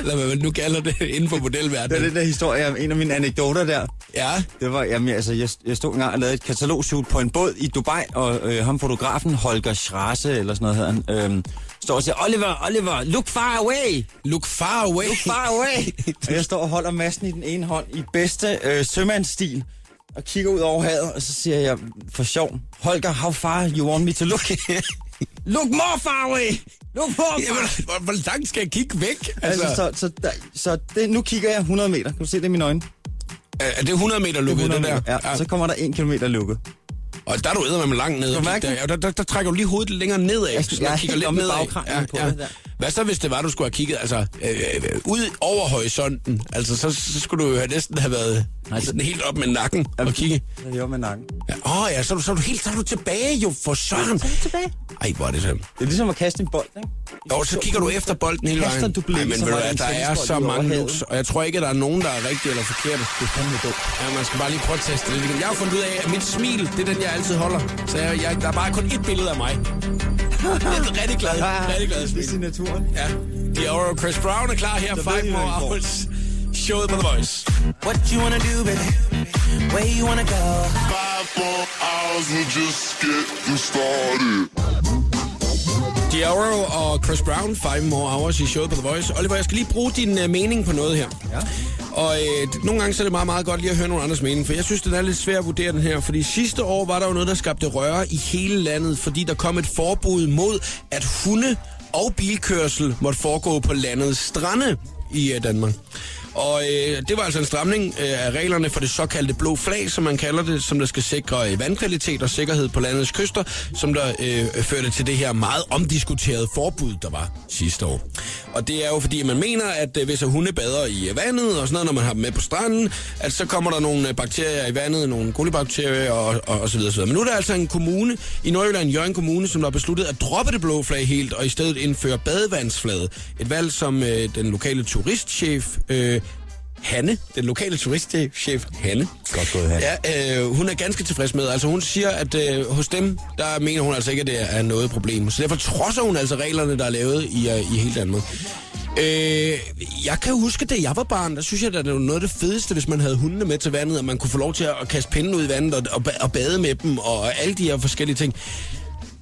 Speaker 1: eller hvad man nu kalder det, inden for
Speaker 2: Det var
Speaker 1: modelverdenen?
Speaker 2: den der historie, om en af mine anekdoter der.
Speaker 1: Ja,
Speaker 2: Det var, jamen, altså, jeg, jeg stod engang og lavede et katalogshoot på en båd i Dubai, og øh, ham fotografen, Holger Schrasse, eller sådan noget hedder han, øh, står og siger, Oliver, Oliver, look far away!
Speaker 1: look far away.
Speaker 2: Look far away! og jeg står og holder massen i den ene hånd i bedste øh, sømandsstil, og kigger ud over havet, og så siger jeg for sjov, Holger, how far you want me to look? [LAUGHS] look more far away! Look more far
Speaker 1: Jamen, hvor, hvor langt skal jeg kigge væk? Altså,
Speaker 2: Altså,
Speaker 1: altså,
Speaker 2: så, så, der, så det, nu kigger jeg 100 meter. Kan du se det i mine øjne? Det
Speaker 1: er er det 100 meter lukket, det, der?
Speaker 2: meter. Ja, så kommer der 1 km lukket.
Speaker 1: Og der er du eddermame langt ned.
Speaker 2: Kan
Speaker 1: og
Speaker 2: du
Speaker 1: kigge
Speaker 2: mærke
Speaker 1: Der,
Speaker 2: det?
Speaker 1: Ja, der, der, der, trækker du lige hovedet lidt længere nedad.
Speaker 2: Jeg-
Speaker 1: så
Speaker 2: jeg
Speaker 1: man
Speaker 2: er
Speaker 1: kigger
Speaker 2: helt
Speaker 1: lidt
Speaker 2: omme i
Speaker 1: nedad.
Speaker 2: bagkranen på det der.
Speaker 1: Hvad så, hvis det var, du skulle have kigget altså, øh, øh, ud over horisonten? Altså, så, så skulle du jo have næsten have været
Speaker 2: Nej, så-
Speaker 1: sådan helt op med nakken og kigge.
Speaker 2: Det gjorde med nakken.
Speaker 1: Ja, Åh ja, så er, du, så er du helt så er du tilbage jo, for søren. Så er du tilbage. Ej, hvor er det sådan.
Speaker 2: Det er ligesom at kaste en bold, ikke?
Speaker 1: Jo, så kigger du efter bolden hele
Speaker 2: Kaster
Speaker 1: vejen.
Speaker 2: du blikket,
Speaker 1: Ej, men
Speaker 2: så
Speaker 1: ved du
Speaker 2: var det
Speaker 1: hvad,
Speaker 2: en
Speaker 1: der er
Speaker 2: tennisbold
Speaker 1: så
Speaker 2: ud over
Speaker 1: mange
Speaker 2: havet.
Speaker 1: looks, og jeg tror ikke, at der er nogen, der er rigtig eller forkerte.
Speaker 2: Det er fandme dumt.
Speaker 1: Ja, man skal bare lige prøve at teste det lidt. Jeg har fundet ud af, at mit smil, det er den, jeg altid holder. Så jeg, jeg, der er bare kun ét billede af mig. Jeg er rigtig glad, rigtig glad
Speaker 2: det er
Speaker 1: smil.
Speaker 2: signaturen.
Speaker 1: Ja, Dior og Chris Brown er klar her.
Speaker 2: Så ved I,
Speaker 1: Five
Speaker 2: hvad
Speaker 1: more
Speaker 2: I får.
Speaker 1: hours. Showet på The Voice.
Speaker 4: What you wanna do, baby? Where you wanna go?
Speaker 7: Five, four hours, we're just getting started.
Speaker 1: Dior og Chris Brown, Five More Hours i showet på The Voice. Oliver, jeg skal lige bruge din øh, mening på noget her. Ja. Og øh, d- nogle gange så er det meget, meget godt lige at høre nogle andres mening, for jeg synes, den er lidt svær at vurdere den her. Fordi sidste år var der jo noget, der skabte røre i hele landet, fordi der kom et forbud mod, at hunde og bilkørsel måtte foregå på landets strande i øh, Danmark. Og øh, det var altså en stramning øh, af reglerne for det såkaldte blå flag, som man kalder det, som der skal sikre øh, vandkvalitet og sikkerhed på landets kyster, som der øh, førte til det her meget omdiskuterede forbud, der var sidste år. Og det er jo fordi, man mener, at øh, hvis at hunde bader i øh, vandet og sådan noget, når man har dem med på stranden, at så kommer der nogle øh, bakterier i vandet, nogle kolibakterier og, og, og så videre, så videre. Men nu er der altså en kommune i Nordjylland, Jørgen Kommune, som der har besluttet at droppe det blå flag helt og i stedet indføre badevandsflaget. Et valg, som øh, den lokale turistchef øh, Hanne, den lokale turistchef Hanne.
Speaker 2: Godt gået, Hanne.
Speaker 1: Ja, øh, hun er ganske tilfreds med. Altså hun siger, at øh, hos dem, der mener hun altså ikke, at det er noget problem. Så derfor trodser hun altså reglerne, der er lavet i, øh, i hele Danmark. Øh, jeg kan huske, da jeg var barn, der synes jeg, at det var noget af det fedeste, hvis man havde hundene med til vandet, og man kunne få lov til at, at kaste pinden ud i vandet og, og, ba- og bade med dem, og alle de her forskellige ting.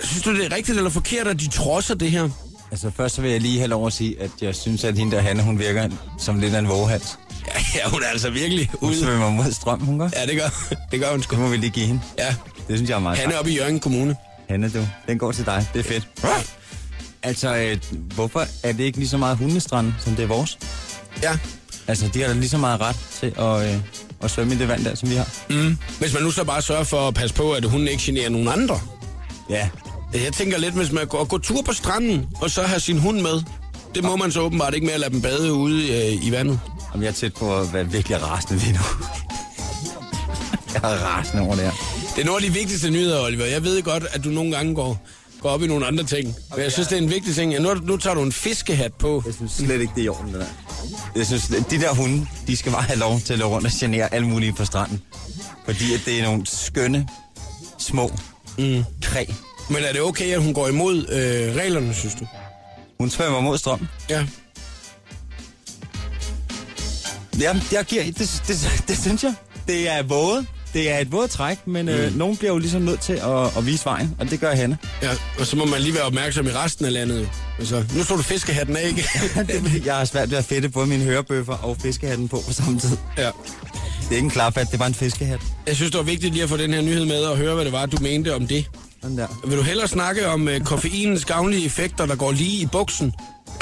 Speaker 1: Synes du, det er rigtigt eller forkert, at de trodser det her?
Speaker 2: Altså først så vil jeg lige have lov at sige, at jeg synes, at hende der Hanne, hun virker som lidt af en våghals.
Speaker 1: Ja, ja hun er altså virkelig
Speaker 2: Hun
Speaker 1: ude.
Speaker 2: svømmer mod strøm, hun gør.
Speaker 1: Ja, det gør, det gør hun sgu.
Speaker 2: Det må vi lige give hende.
Speaker 1: Ja.
Speaker 2: Det synes jeg er meget
Speaker 1: Han er
Speaker 2: sejt.
Speaker 1: oppe i Jørgen Kommune.
Speaker 2: Hanne, du. Den går til dig. Det er fedt. Altså, øh, hvorfor er det ikke lige så meget hundestrande, som det er vores?
Speaker 1: Ja.
Speaker 2: Altså, de har da lige så meget ret til at, øh, at svømme i det vand der, som vi har.
Speaker 1: Hvis man nu så bare sørger for at passe på, at hun ikke generer nogen andre.
Speaker 2: Ja.
Speaker 1: Jeg tænker lidt, hvis man går, går tur på stranden, og så har sin hund med. Det må man så åbenbart ikke med at lade dem bade ude øh, i vandet.
Speaker 2: Om jeg er tæt på at være virkelig rasende lige nu. [LAUGHS] jeg er rasende over det her.
Speaker 1: Det er nogle af de vigtigste nyheder, Oliver. Jeg ved godt, at du nogle gange går, går op i nogle andre ting. Men jeg synes, det er en vigtig ting. Ja, nu, nu tager du en fiskehat på.
Speaker 2: Jeg synes slet ikke, det er i orden, det der. Jeg synes, de der hunde, de skal bare have lov til at løbe rundt og genere alle mulige på stranden. Fordi at det er nogle skønne, små mm. kræ.
Speaker 1: Men er det okay, at hun går imod øh, reglerne, synes du?
Speaker 2: Hun svømmer mod strømmen.
Speaker 1: Ja.
Speaker 2: Jamen, jeg giver, det, det, det synes jeg. Det er våget. Det er et vådt træk, men mm. øh, nogen bliver jo ligesom nødt til at, at vise vejen, og det gør Hanne.
Speaker 1: ja. Og så må man lige være opmærksom i resten af landet. jo. Altså, nu slår du fiskehatten af,
Speaker 2: [LAUGHS]
Speaker 1: ikke?
Speaker 2: Det er fordi, jeg har svært ved at fedte både mine hørebøffer og fiskehatten på på samme tid.
Speaker 1: ja.
Speaker 2: Det er ikke en klaphat, det er bare en fiskehat.
Speaker 1: Jeg synes, det var vigtigt lige at få den her nyhed med og høre, hvad det var, du mente om det.
Speaker 2: Sådan der.
Speaker 1: Vil du hellere snakke om øh, koffeinens gavnlige effekter, der går lige i buksen?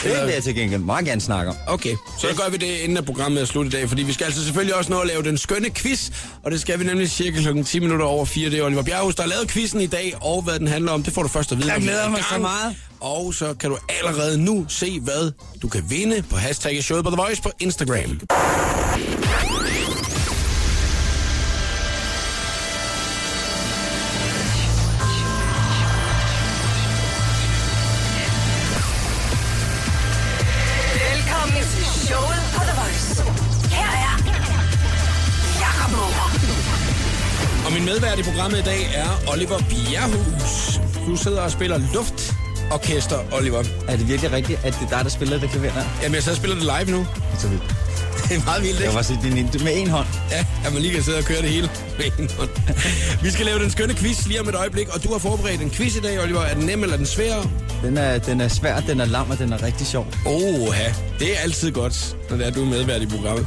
Speaker 2: Det vil jeg til gengæld meget gerne snakke om.
Speaker 1: Okay, så gør vi det, inden at programmet er slut i dag, fordi vi skal altså selvfølgelig også nå at lave den skønne quiz, og det skal vi nemlig cirka klokken 10 minutter over 4. Det er Oliver Bjerghus, der har lavet quizzen i dag, og hvad den handler om, det får du først at vide.
Speaker 2: Jeg
Speaker 1: om lidt
Speaker 2: glæder
Speaker 1: i
Speaker 2: mig så
Speaker 1: gang.
Speaker 2: meget.
Speaker 1: Og så kan du allerede nu se, hvad du kan vinde på hashtagget Showet på The Voice på Instagram.
Speaker 8: Velkommen til showet på The Voice. Her er Jakob Møller.
Speaker 1: Og min medvært i programmet i dag er Oliver Bjerghus. Du sidder og spiller luftorkester, Oliver.
Speaker 2: Er det virkelig rigtigt, at det er dig, der spiller det klaver der?
Speaker 1: Jamen, jeg så spiller det live nu. [LAUGHS]
Speaker 2: Så vildt.
Speaker 1: Det er meget vildt,
Speaker 2: Jeg
Speaker 1: ikke?
Speaker 2: var sige, det er med en hånd.
Speaker 1: Ja, at man lige kan sidde og køre det hele med en hånd. Vi skal lave den skønne quiz lige om et øjeblik, og du har forberedt en quiz i dag, Oliver. Er den nem eller er den svær?
Speaker 2: Den er, den er svær, den er lam, og den er rigtig sjov.
Speaker 1: Oha, det er altid godt, når det er, du er medvært i programmet.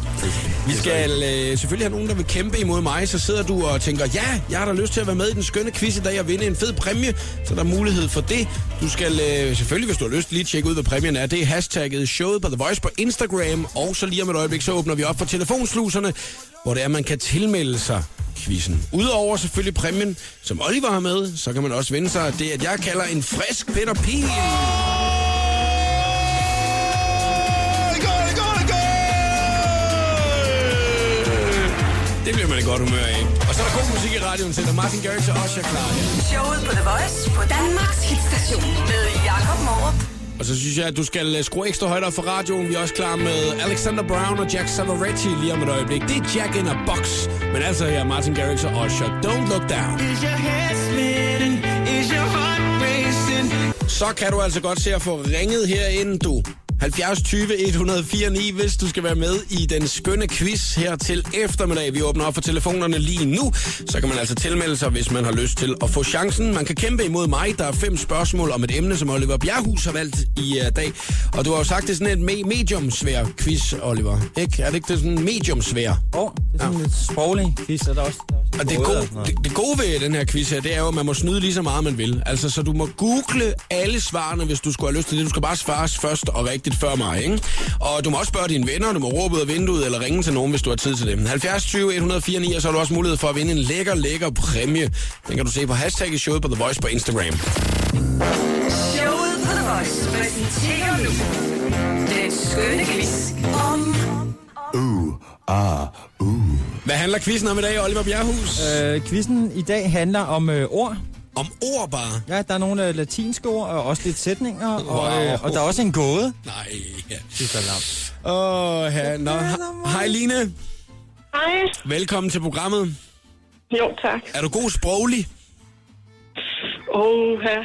Speaker 1: Vi skal øh, selvfølgelig have nogen, der vil kæmpe imod mig, så sidder du og tænker, ja, jeg har da lyst til at være med i den skønne quiz i dag og vinde en fed præmie, så der er mulighed for det. Du skal øh, selvfølgelig, hvis du har lyst, lige tjekke ud, hvad præmien er. Det er hashtagget showet på The Voice på Instagram, og så lige om et øjeblik, så åbner vi op for telefonsluserne, hvor det er, man kan tilmelde sig quizzen. Udover selvfølgelig præmien, som Oliver har med, så kan man også vinde sig det, at jeg kalder en frisk Peter Pien. Det bliver man i godt humør af. Og så er der god musik i radioen til, der Martin Garrix og Osher klar her.
Speaker 8: Showet på The Voice på Danmarks hitstation med Jakob Morup.
Speaker 1: Og så synes jeg, at du skal øh, skrue ekstra højt op for radioen. Vi er også klar med Alexander Brown og Jack Savaretti lige om et øjeblik. Det er Jack in a Box. Men altså her er Martin Garrix og Osher. Don't look down.
Speaker 9: Is your head spinning? Is your heart racing?
Speaker 1: Så kan du altså godt se at få ringet herinde, du. 70 20 104 9, hvis du skal være med i den skønne quiz her til eftermiddag. Vi åbner op for telefonerne lige nu. Så kan man altså tilmelde sig, hvis man har lyst til at få chancen. Man kan kæmpe imod mig. Der er fem spørgsmål om et emne, som Oliver Bjerghus har valgt i uh, dag. Og du har jo sagt, det er sådan en me- medium-svær quiz, Oliver. Ikke? Er det ikke det er sådan medium-svær?
Speaker 2: Åh, oh, det er sådan ja. lidt sproglig quiz, er der også. Der er også.
Speaker 1: Og det,
Speaker 2: Både
Speaker 1: gode,
Speaker 2: og sådan noget.
Speaker 1: det, det gode ved den her quiz her, det er jo, at man må snyde lige så meget, man vil. Altså, så du må google alle svarene, hvis du skulle have lyst til det. Du skal bare svare først og rigtigt før mig, ikke? Og du må også spørge dine venner, du må råbe ud af vinduet eller ringe til nogen, hvis du har tid til det. 70 20 104 9, og så har du også mulighed for at vinde en lækker, lækker præmie. Den kan du se på hashtag i showet på The Voice på Instagram.
Speaker 8: Showet på The Voice præsenterer nu den skønne quiz om
Speaker 7: ah,
Speaker 1: Hvad handler quizzen om i dag, Oliver Bjerghus? Øh.
Speaker 2: Øh, quizzen i dag handler om øh, ord.
Speaker 1: Om ord bare.
Speaker 2: Ja, der er nogle øh, latinske ord, og også lidt sætninger, wow. og, øh,
Speaker 1: Wow.
Speaker 2: og der er også en gåde.
Speaker 1: Nej. Ja. Åh, oh, ja. Nå, he- hej Line.
Speaker 10: Hej.
Speaker 1: Velkommen til programmet.
Speaker 10: Jo, tak.
Speaker 1: Er du god sproglig?
Speaker 10: Åh, ja.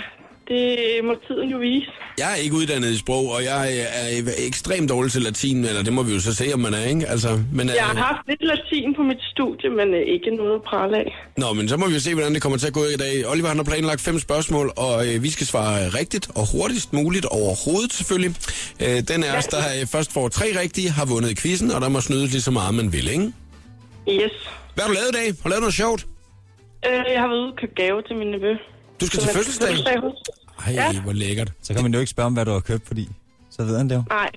Speaker 10: Det må tiden jo vise.
Speaker 1: Jeg er ikke uddannet i sprog, og jeg er øh, ekstremt dårlig til latin, eller det må vi jo så se, om man er, ikke? Altså, men,
Speaker 10: Jeg har haft lidt latin på mit studie, men øh, ikke noget at prale af.
Speaker 1: Nå, men så må vi jo se, hvordan det kommer til at gå i dag. Oliver han har planlagt fem spørgsmål, og øh, vi skal svare øh, rigtigt og hurtigst muligt overhovedet selvfølgelig. Øh, den af os, der øh, først får tre rigtige, har vundet quizzen, og der må snydes lige så meget, man vil, ikke?
Speaker 10: Yes.
Speaker 1: Hvad har du lavet i dag? Har du lavet noget sjovt?
Speaker 10: Øh, jeg har været ude og købe gave til min nevø.
Speaker 1: Du skal
Speaker 10: Som
Speaker 1: til
Speaker 10: er
Speaker 1: fødselsdag?
Speaker 10: hos.
Speaker 1: Ej,
Speaker 10: Ja.
Speaker 1: hvor lækkert.
Speaker 2: Så kan man jo ikke spørge om, hvad du har købt, fordi så ved han det jo.
Speaker 10: Nej.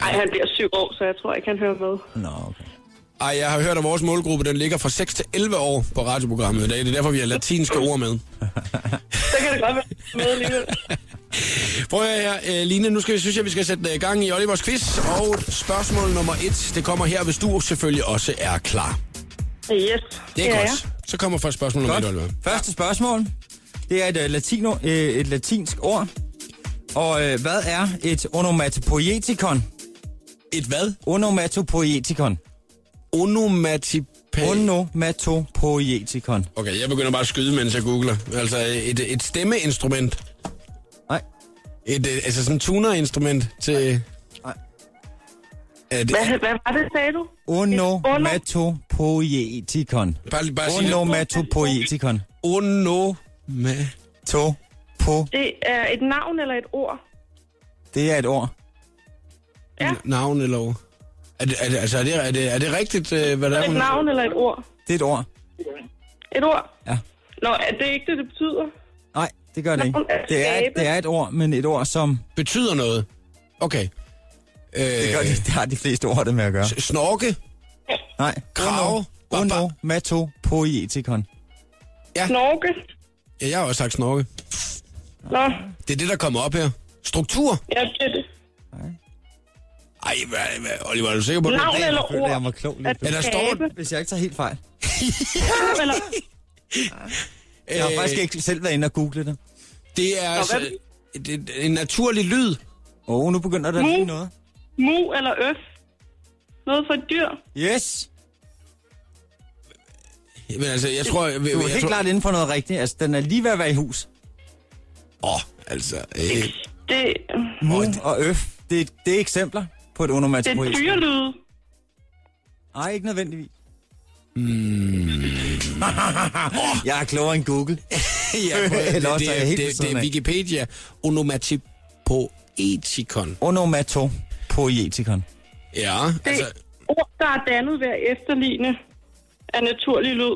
Speaker 10: Ej, han bliver syv år, så jeg tror ikke, han hører med.
Speaker 2: Nå, okay.
Speaker 1: Ej, jeg har hørt, at vores målgruppe den ligger fra 6 til 11 år på radioprogrammet i dag. Det er derfor, vi har latinske ord med.
Speaker 10: Så kan det godt være med alligevel.
Speaker 1: Prøv at høre her, øh, Line, nu skal, synes jeg, vi skal sætte øh, gang i Olivers quiz. Og spørgsmål nummer et, det kommer her, hvis du selvfølgelig også er klar.
Speaker 10: Yes.
Speaker 1: Det er
Speaker 10: ja,
Speaker 1: ja,
Speaker 10: Ja.
Speaker 1: godt. Så kommer først spørgsmål nummer et, Oliver.
Speaker 2: Godt. Første spørgsmål. Det er et, øh, latino, øh, et latinsk ord. Og øh, hvad er et onomatopoietikon?
Speaker 1: Et hvad?
Speaker 2: Onomatopoietikon.
Speaker 1: Onomatipa.
Speaker 2: Onomatopoietikon.
Speaker 1: okay, jeg begynder bare at skyde, mens jeg googler. Altså et, et stemmeinstrument.
Speaker 2: Nej,
Speaker 1: Et, øh, altså sådan et tunerinstrument til...
Speaker 2: Nej.
Speaker 1: Er det,
Speaker 10: Hvad, hvad var det, sagde du?
Speaker 2: onomatopoietikon.
Speaker 1: bare, lige- bare sige det.
Speaker 2: Onomatopoietikon.
Speaker 1: Onoma.
Speaker 2: To. På.
Speaker 10: Det er et navn eller et ord?
Speaker 2: Det er et ord.
Speaker 10: Ja.
Speaker 1: Navn eller ord. er det, er det, altså, er det, er det, er det rigtigt, øh, hvad der er?
Speaker 10: Et
Speaker 1: hun-
Speaker 10: navn eller et ord?
Speaker 2: Det er et ord.
Speaker 10: Et ord?
Speaker 2: Ja.
Speaker 10: Nå, er det ikke det, det betyder?
Speaker 2: Nej, det gør det ikke.
Speaker 10: Navn er
Speaker 2: Det er,
Speaker 10: abe.
Speaker 2: det er et ord, men et ord, som...
Speaker 1: Betyder noget. Okay. Øh,
Speaker 2: Det, gør det, det har de fleste ord det med at gøre.
Speaker 1: Snorke.
Speaker 2: Nej.
Speaker 1: Krav.
Speaker 2: Onomatopoietikon.
Speaker 10: Snorke?
Speaker 1: Ja, jeg har også sagt snorke.
Speaker 10: Nå,
Speaker 1: Det er det, der kommer op her. Struktur.
Speaker 10: ja, det er det.
Speaker 1: Ej, hvad, hvad, Oliver, er du sikker på det?
Speaker 10: Navn eller
Speaker 2: føler jeg mig
Speaker 10: ord?
Speaker 2: klog lige
Speaker 10: At
Speaker 2: pludselig.
Speaker 1: Ja, der står-
Speaker 10: skabe?
Speaker 2: Hvis jeg ikke tager helt fejl.
Speaker 10: Navn eller...
Speaker 2: Jeg har
Speaker 1: Øh,
Speaker 2: faktisk ikke selv været inde og google det.
Speaker 1: Det er altså, det, det er en naturlig lyd.
Speaker 2: Åh, oh, nu begynder der
Speaker 10: Hm?
Speaker 2: lige noget.
Speaker 10: Mu eller øf? Noget for et dyr?
Speaker 2: Yes!
Speaker 1: Øh, Men altså, jeg tror... Jeg, jeg,
Speaker 2: Du er
Speaker 1: jeg,
Speaker 2: helt
Speaker 1: tror,
Speaker 2: klart inde for noget rigtigt. Altså, den er lige ved at være i hus.
Speaker 1: Åh, altså... Øh,
Speaker 10: Det,
Speaker 2: Mu Hm. og øf. Det, er- det er eksempler på et
Speaker 10: det er
Speaker 2: onomatopoietikon.
Speaker 10: dyrelyde.
Speaker 2: Nej, ikke nødvendigvis. [LAUGHS] Mm. jeg er klogere end Google. [LAUGHS]
Speaker 1: ja, prøv, at-
Speaker 2: Eller også
Speaker 1: det,
Speaker 2: er jeg
Speaker 1: det,
Speaker 2: helt
Speaker 1: det,
Speaker 2: ved siden
Speaker 1: det er
Speaker 2: af.
Speaker 1: Wikipedia. Onomatipoetikon.
Speaker 2: Onomatopoietikon.
Speaker 1: Ja,
Speaker 10: Det
Speaker 1: altså...
Speaker 10: er ord, der er dannet ved at efterligne af naturlig lyd.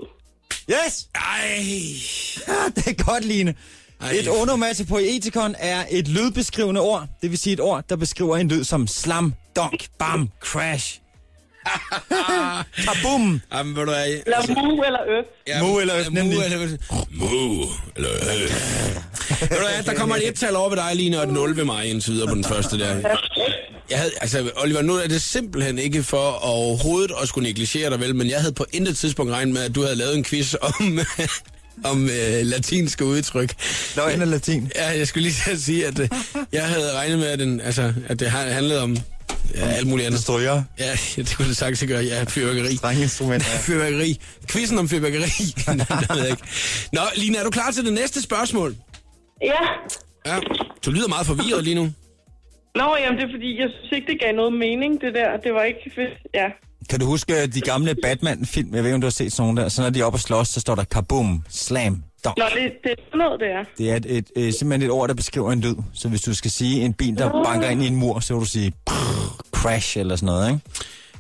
Speaker 2: Yes!
Speaker 1: Ej,
Speaker 2: Det er godt, Line.
Speaker 1: Ej.
Speaker 2: Et onomatopoietikon er et lydbeskrivende ord. Det vil sige et ord, der beskriver en lyd som slam, donk, bam, [LAUGHS] crash. Kabum.
Speaker 1: jamen, ved du hvad...
Speaker 10: Eller mu eller øf.
Speaker 1: Ja,
Speaker 2: Mu eller
Speaker 1: ja,
Speaker 2: øf,
Speaker 1: Mu
Speaker 2: nemlig.
Speaker 1: eller øf. Mu eller øf. Ved du hvad, der kommer et ettal over ved dig, Line, og et 0 ved mig indtil videre på den første der. Jeg havde, altså, Oliver, nu er det simpelthen ikke for overhovedet at skulle negligere dig, vel, men jeg havde på intet tidspunkt regnet med, at du havde lavet en quiz om, [LAUGHS] om øh, latinske udtryk.
Speaker 2: Løgn og latin.
Speaker 1: Ja, jeg skulle lige til at sige, at øh, jeg havde regnet med, at, den, altså, at det har- handlede om ja, alt muligt andet.
Speaker 2: Stryger.
Speaker 1: Ja, [LAUGHS] det kunne det sagtens gøre. Ja, fyrværkeri.
Speaker 2: Strengeinstrumenter.
Speaker 1: Fyrværkeri. Quizzen om fyrværkeri. Nej, det ved jeg ikke. Nå, Lina, er du klar til det næste spørgsmål?
Speaker 10: Ja.
Speaker 1: Ja. Du lyder meget forvirret lige nu.
Speaker 10: Nå, jamen det er fordi, jeg synes ikke, det gav noget mening, det der. Det var ikke fedt. Ja.
Speaker 2: Kan du huske øh, de gamle Batman-film? Jeg ved ikke, om du har set sådan nogle der. Så når de er oppe og slås, så står der kabum, slam, donk.
Speaker 10: Nå, det, det er sådan noget, det er.
Speaker 2: Det er et, et, øh, simpelthen et ord, der beskriver en lyd. Så Ah. hvis du skal sige en bil, der banker ind i en mur, så vil du sige prrr, crash eller sådan noget, ikke?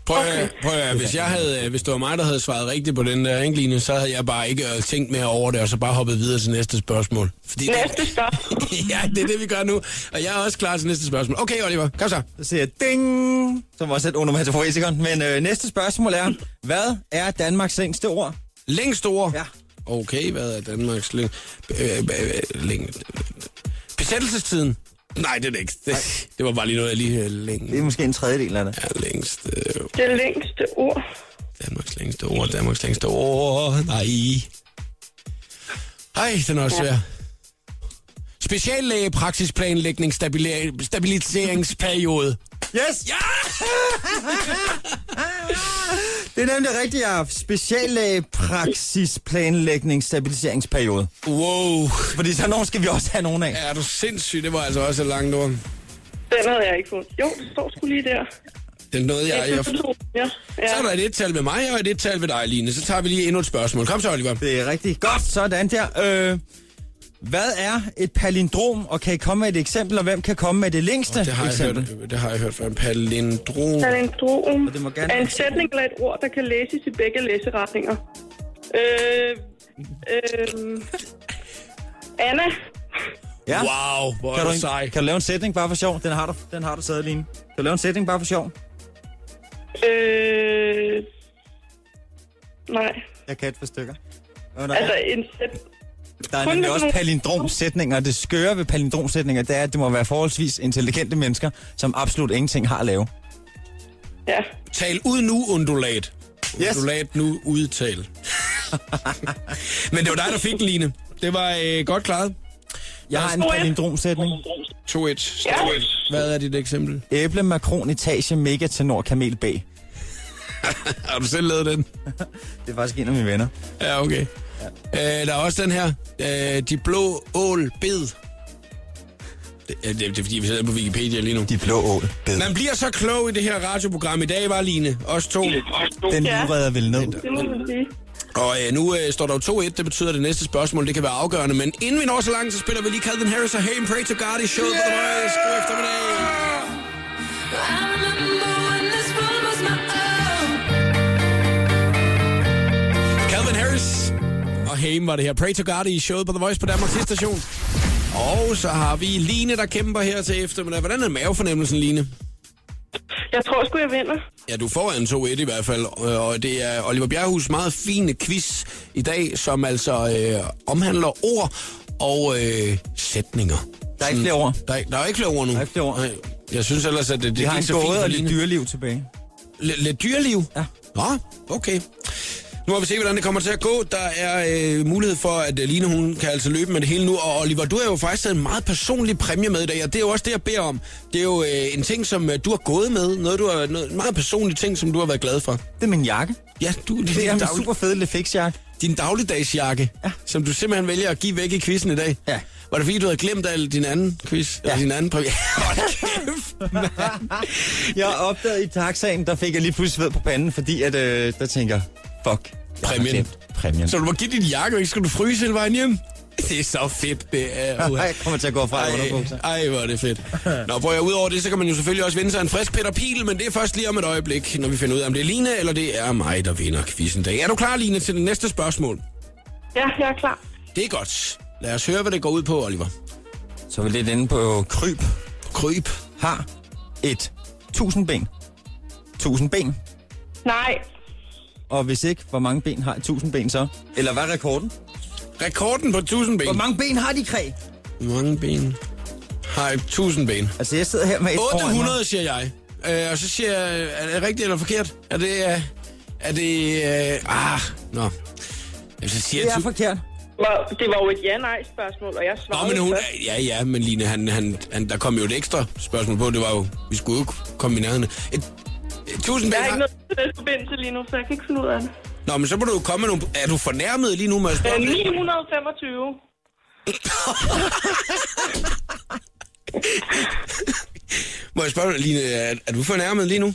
Speaker 1: Prøv, okay. prøv at, høre, hvis, jeg havde, øh, hvis det var mig, der havde svaret rigtigt på den der ikke, Line, så havde jeg bare ikke øh, tænkt mere over det, og så bare hoppet videre til næste spørgsmål. Fordi
Speaker 10: Næste stop.
Speaker 1: Det, [LAUGHS] ja, det er det, vi gør nu. Og jeg er også klar til næste spørgsmål. Okay, Oliver, kom så.
Speaker 2: Så siger jeg ding, som også er et onomatopoetikon. Men øh, næste spørgsmål er, hvad er Danmarks længste ord?
Speaker 1: Længst ord.
Speaker 2: Ja.
Speaker 1: Okay, hvad er Danmarks læng... Øh, øh, øh, læng... Besættelsestiden. Nej, det er det ikke. Det, [LAUGHS] det var bare lige noget, jeg lige øh,
Speaker 2: Det er
Speaker 1: længe.
Speaker 2: måske en tredjedel af det.
Speaker 1: Ja, længst... Øh,
Speaker 10: Det længste ord.
Speaker 1: Danmarks længste ord, Danmarks længste ord. Nej. Ej, den er også svær. Speciallæge, praksisplanlægning, stabila- stabiliseringsperiode.
Speaker 2: Yes! Ja! det er nemlig rigtigt, jeg har haft speciallægepraksis, planlægning, stabiliseringsperiode.
Speaker 1: Wow.
Speaker 2: Fordi så nogen skal vi også have nogen af.
Speaker 1: Er du sindssyg? Det var altså også et langt ord.
Speaker 10: Den havde jeg ikke fundet. Jo, det står sgu lige der.
Speaker 1: Den nåede jeg. jeg...
Speaker 10: Ja. Ja.
Speaker 1: Så er der et tal ved mig, og et tal ved dig, Line. Så tager vi lige endnu et spørgsmål. Kom så, Oliver.
Speaker 2: Det er rigtigt. Godt, sådan der. Øh, hvad er et palindrom, og kan I komme med et eksempel, og hvem kan komme med det længste
Speaker 1: Det har jeg
Speaker 2: eksempel?
Speaker 1: hørt, det har jeg hørt fra en palindrom.
Speaker 10: Palindrom
Speaker 2: Og det må gerne
Speaker 10: er en
Speaker 2: være-
Speaker 10: sætning eller et ord, der kan læses i begge læseretninger. Øh, øh, Anna,
Speaker 2: Ja.
Speaker 1: Wow, hvor
Speaker 2: Kan
Speaker 1: er
Speaker 2: du,
Speaker 1: du sej.
Speaker 2: kan du lave en sætning bare for sjov? Den har du, den har du taget, Line. Kan du lave en sætning bare for sjov?
Speaker 10: øh, nej,
Speaker 2: Jeg kan et par stykker. Øh,
Speaker 10: altså en sæt,
Speaker 2: Der er
Speaker 10: kun
Speaker 2: nemlig
Speaker 10: hvis
Speaker 2: også
Speaker 10: man-
Speaker 2: palindromsætninger. Det skøre ved palindromsætninger, det er, at det må være forholdsvis intelligente mennesker, som absolut ingenting har at lave.
Speaker 10: ja,
Speaker 1: Tal ud nu, undulat.
Speaker 2: Yes.
Speaker 1: Undulat nu, udtal. Men det var dig, der fik den, Line. Det var øh, godt klaret.
Speaker 2: Jeg har en
Speaker 10: Nå ja.
Speaker 2: palindromsætning.
Speaker 1: 2-1.
Speaker 10: Ja.
Speaker 1: Hvad er dit eksempel?
Speaker 2: Æble, makron, etage, mega, tenor, kamel, bag.
Speaker 1: Har du selv lavet den?
Speaker 2: Det er faktisk en af mine venner.
Speaker 1: Ja, okay. Øh, der er også den her. Øh, de blå ål bed. Det, øh, det, det er fordi, vi sidder på Wikipedia lige nu.
Speaker 2: De blå ål. Bed.
Speaker 1: Man bliver så klog i det her radioprogram. I dag var Line, os to.
Speaker 2: Den
Speaker 10: Ja.
Speaker 2: livredder vel ned.
Speaker 10: det må man sige.
Speaker 1: Og øh, nu øh, står der jo 2-1, det betyder, at det næste spørgsmål det kan være afgørende. Men inden vi når så langt, så spiller vi lige Calvin Harris og Hey and Pray to God i showet yeah! på The Voice. God eftermiddag. Calvin Harris og Haim var det her. Pray to God i showet på The Voice på Danmarks Hits station. Og så har vi Line, der kæmper her til eftermiddag. Hvordan er mavefornemmelsen, Line?
Speaker 10: Jeg tror sgu, jeg vinder.
Speaker 1: Ja, du får en 2-1 i hvert fald, øh, og det er Oliver Bjerghus meget fine quiz i dag, som altså øh, omhandler ord og øh, sætninger.
Speaker 2: Der er ikke flere ord.
Speaker 1: Mm. Der er, der er ikke flere ord nu. Der
Speaker 2: er ikke flere ord.
Speaker 1: Nej. Jeg synes ellers, at det, det
Speaker 2: Vi
Speaker 1: gik
Speaker 2: har en
Speaker 1: så fint
Speaker 2: gåde
Speaker 1: for
Speaker 2: og lidt
Speaker 1: Line.
Speaker 2: dyreliv tilbage.
Speaker 1: Lidt- Lidt dyreliv?
Speaker 2: Ja.
Speaker 1: Nå, okay. Nu må vi se, hvordan det kommer til at gå. Der er øh, mulighed for, at øh, Line hun kan altså løbe med det hele nu. Og Oliver, du har jo faktisk taget en meget personlig præmie med i dag, og det er jo også det, jeg beder om. Det er jo øh, en ting, som øh, du har gået med. Noget, du har, noget, en meget personlig ting, som du har været glad for.
Speaker 2: Det er min jakke.
Speaker 1: Ja, du, det,
Speaker 2: Det er
Speaker 1: din,
Speaker 2: min
Speaker 1: dag,
Speaker 2: super fede Lefix-jakke.
Speaker 1: din dagligdagsjakke, ja. som du simpelthen vælger at give væk i quizzen i dag.
Speaker 2: Ja.
Speaker 1: Var det fordi, du havde glemt al din anden quiz? Ja. Eller din anden præmie? [LAUGHS] Hold kæft, mand.
Speaker 2: Jeg opdagede i taxaen, der fik jeg lige pludselig ved på panden, fordi at, øh, der tænker, jeg, fuck. jeg har
Speaker 1: Præmien.
Speaker 2: glemt Præmien.
Speaker 1: Så du må give din jakke, og ikke skal du fryse hele vejen hjem? [LAUGHS] Det er så fedt, det er. uha.
Speaker 2: [LAUGHS] Jeg kommer til at gå fra i underbukser.
Speaker 1: Ej, ej, hvor er det fedt. Nå, prøv at udover det, så kan man jo selvfølgelig også vinde sig en frisk Peter Pil, men det er først lige om et øjeblik, når vi finder ud af, om det er Line eller det er mig, der vinder quizzen i dag. Er du klar, Line, til det næste spørgsmål?
Speaker 10: Ja, jeg er klar.
Speaker 1: Det er godt. Lad os høre, hvad det går ud på, Oliver.
Speaker 2: Så er vi lidt inde på kryb.
Speaker 1: Kryb.
Speaker 2: Har et tusind ben. Tusind ben.
Speaker 10: Nej,
Speaker 2: Og hvis ikke, hvor mange ben har et tusind ben så? Eller hvad er rekorden?
Speaker 1: Rekorden på 1000 ben.
Speaker 2: Hvor mange ben har de, Kræ?
Speaker 1: Hvor mange ben? Har jeg 1000 ben?
Speaker 2: Altså, jeg sidder her med et foran mig.
Speaker 1: 800, siger jeg. Øh, og så siger jeg, er det rigtigt eller forkert? Er det... øh, Er det... Øh, ah, nå. Jamen, så siger
Speaker 2: Det
Speaker 1: jeg...
Speaker 2: er
Speaker 1: tu-
Speaker 2: forkert.
Speaker 10: Var- det var jo et ja-nej-spørgsmål, og jeg
Speaker 1: Nå,
Speaker 10: svarede
Speaker 1: men hun,
Speaker 10: først.
Speaker 1: ja, ja, men Line, han, han, han, der kom jo et ekstra spørgsmål på. Det var jo, vi skulle jo ikke komme i nærheden. Et, et tusind
Speaker 10: Jeg har ikke
Speaker 1: ben.
Speaker 10: noget til den forbindelse lige nu, så jeg kan ikke finde ud af det.
Speaker 1: Nå, men så må du jo komme med nogle... Er du fornærmet lige nu med at spørge?
Speaker 10: Øh,
Speaker 1: om det?
Speaker 10: 925.
Speaker 1: Må jeg spørge, Line, er, er du fornærmet lige nu?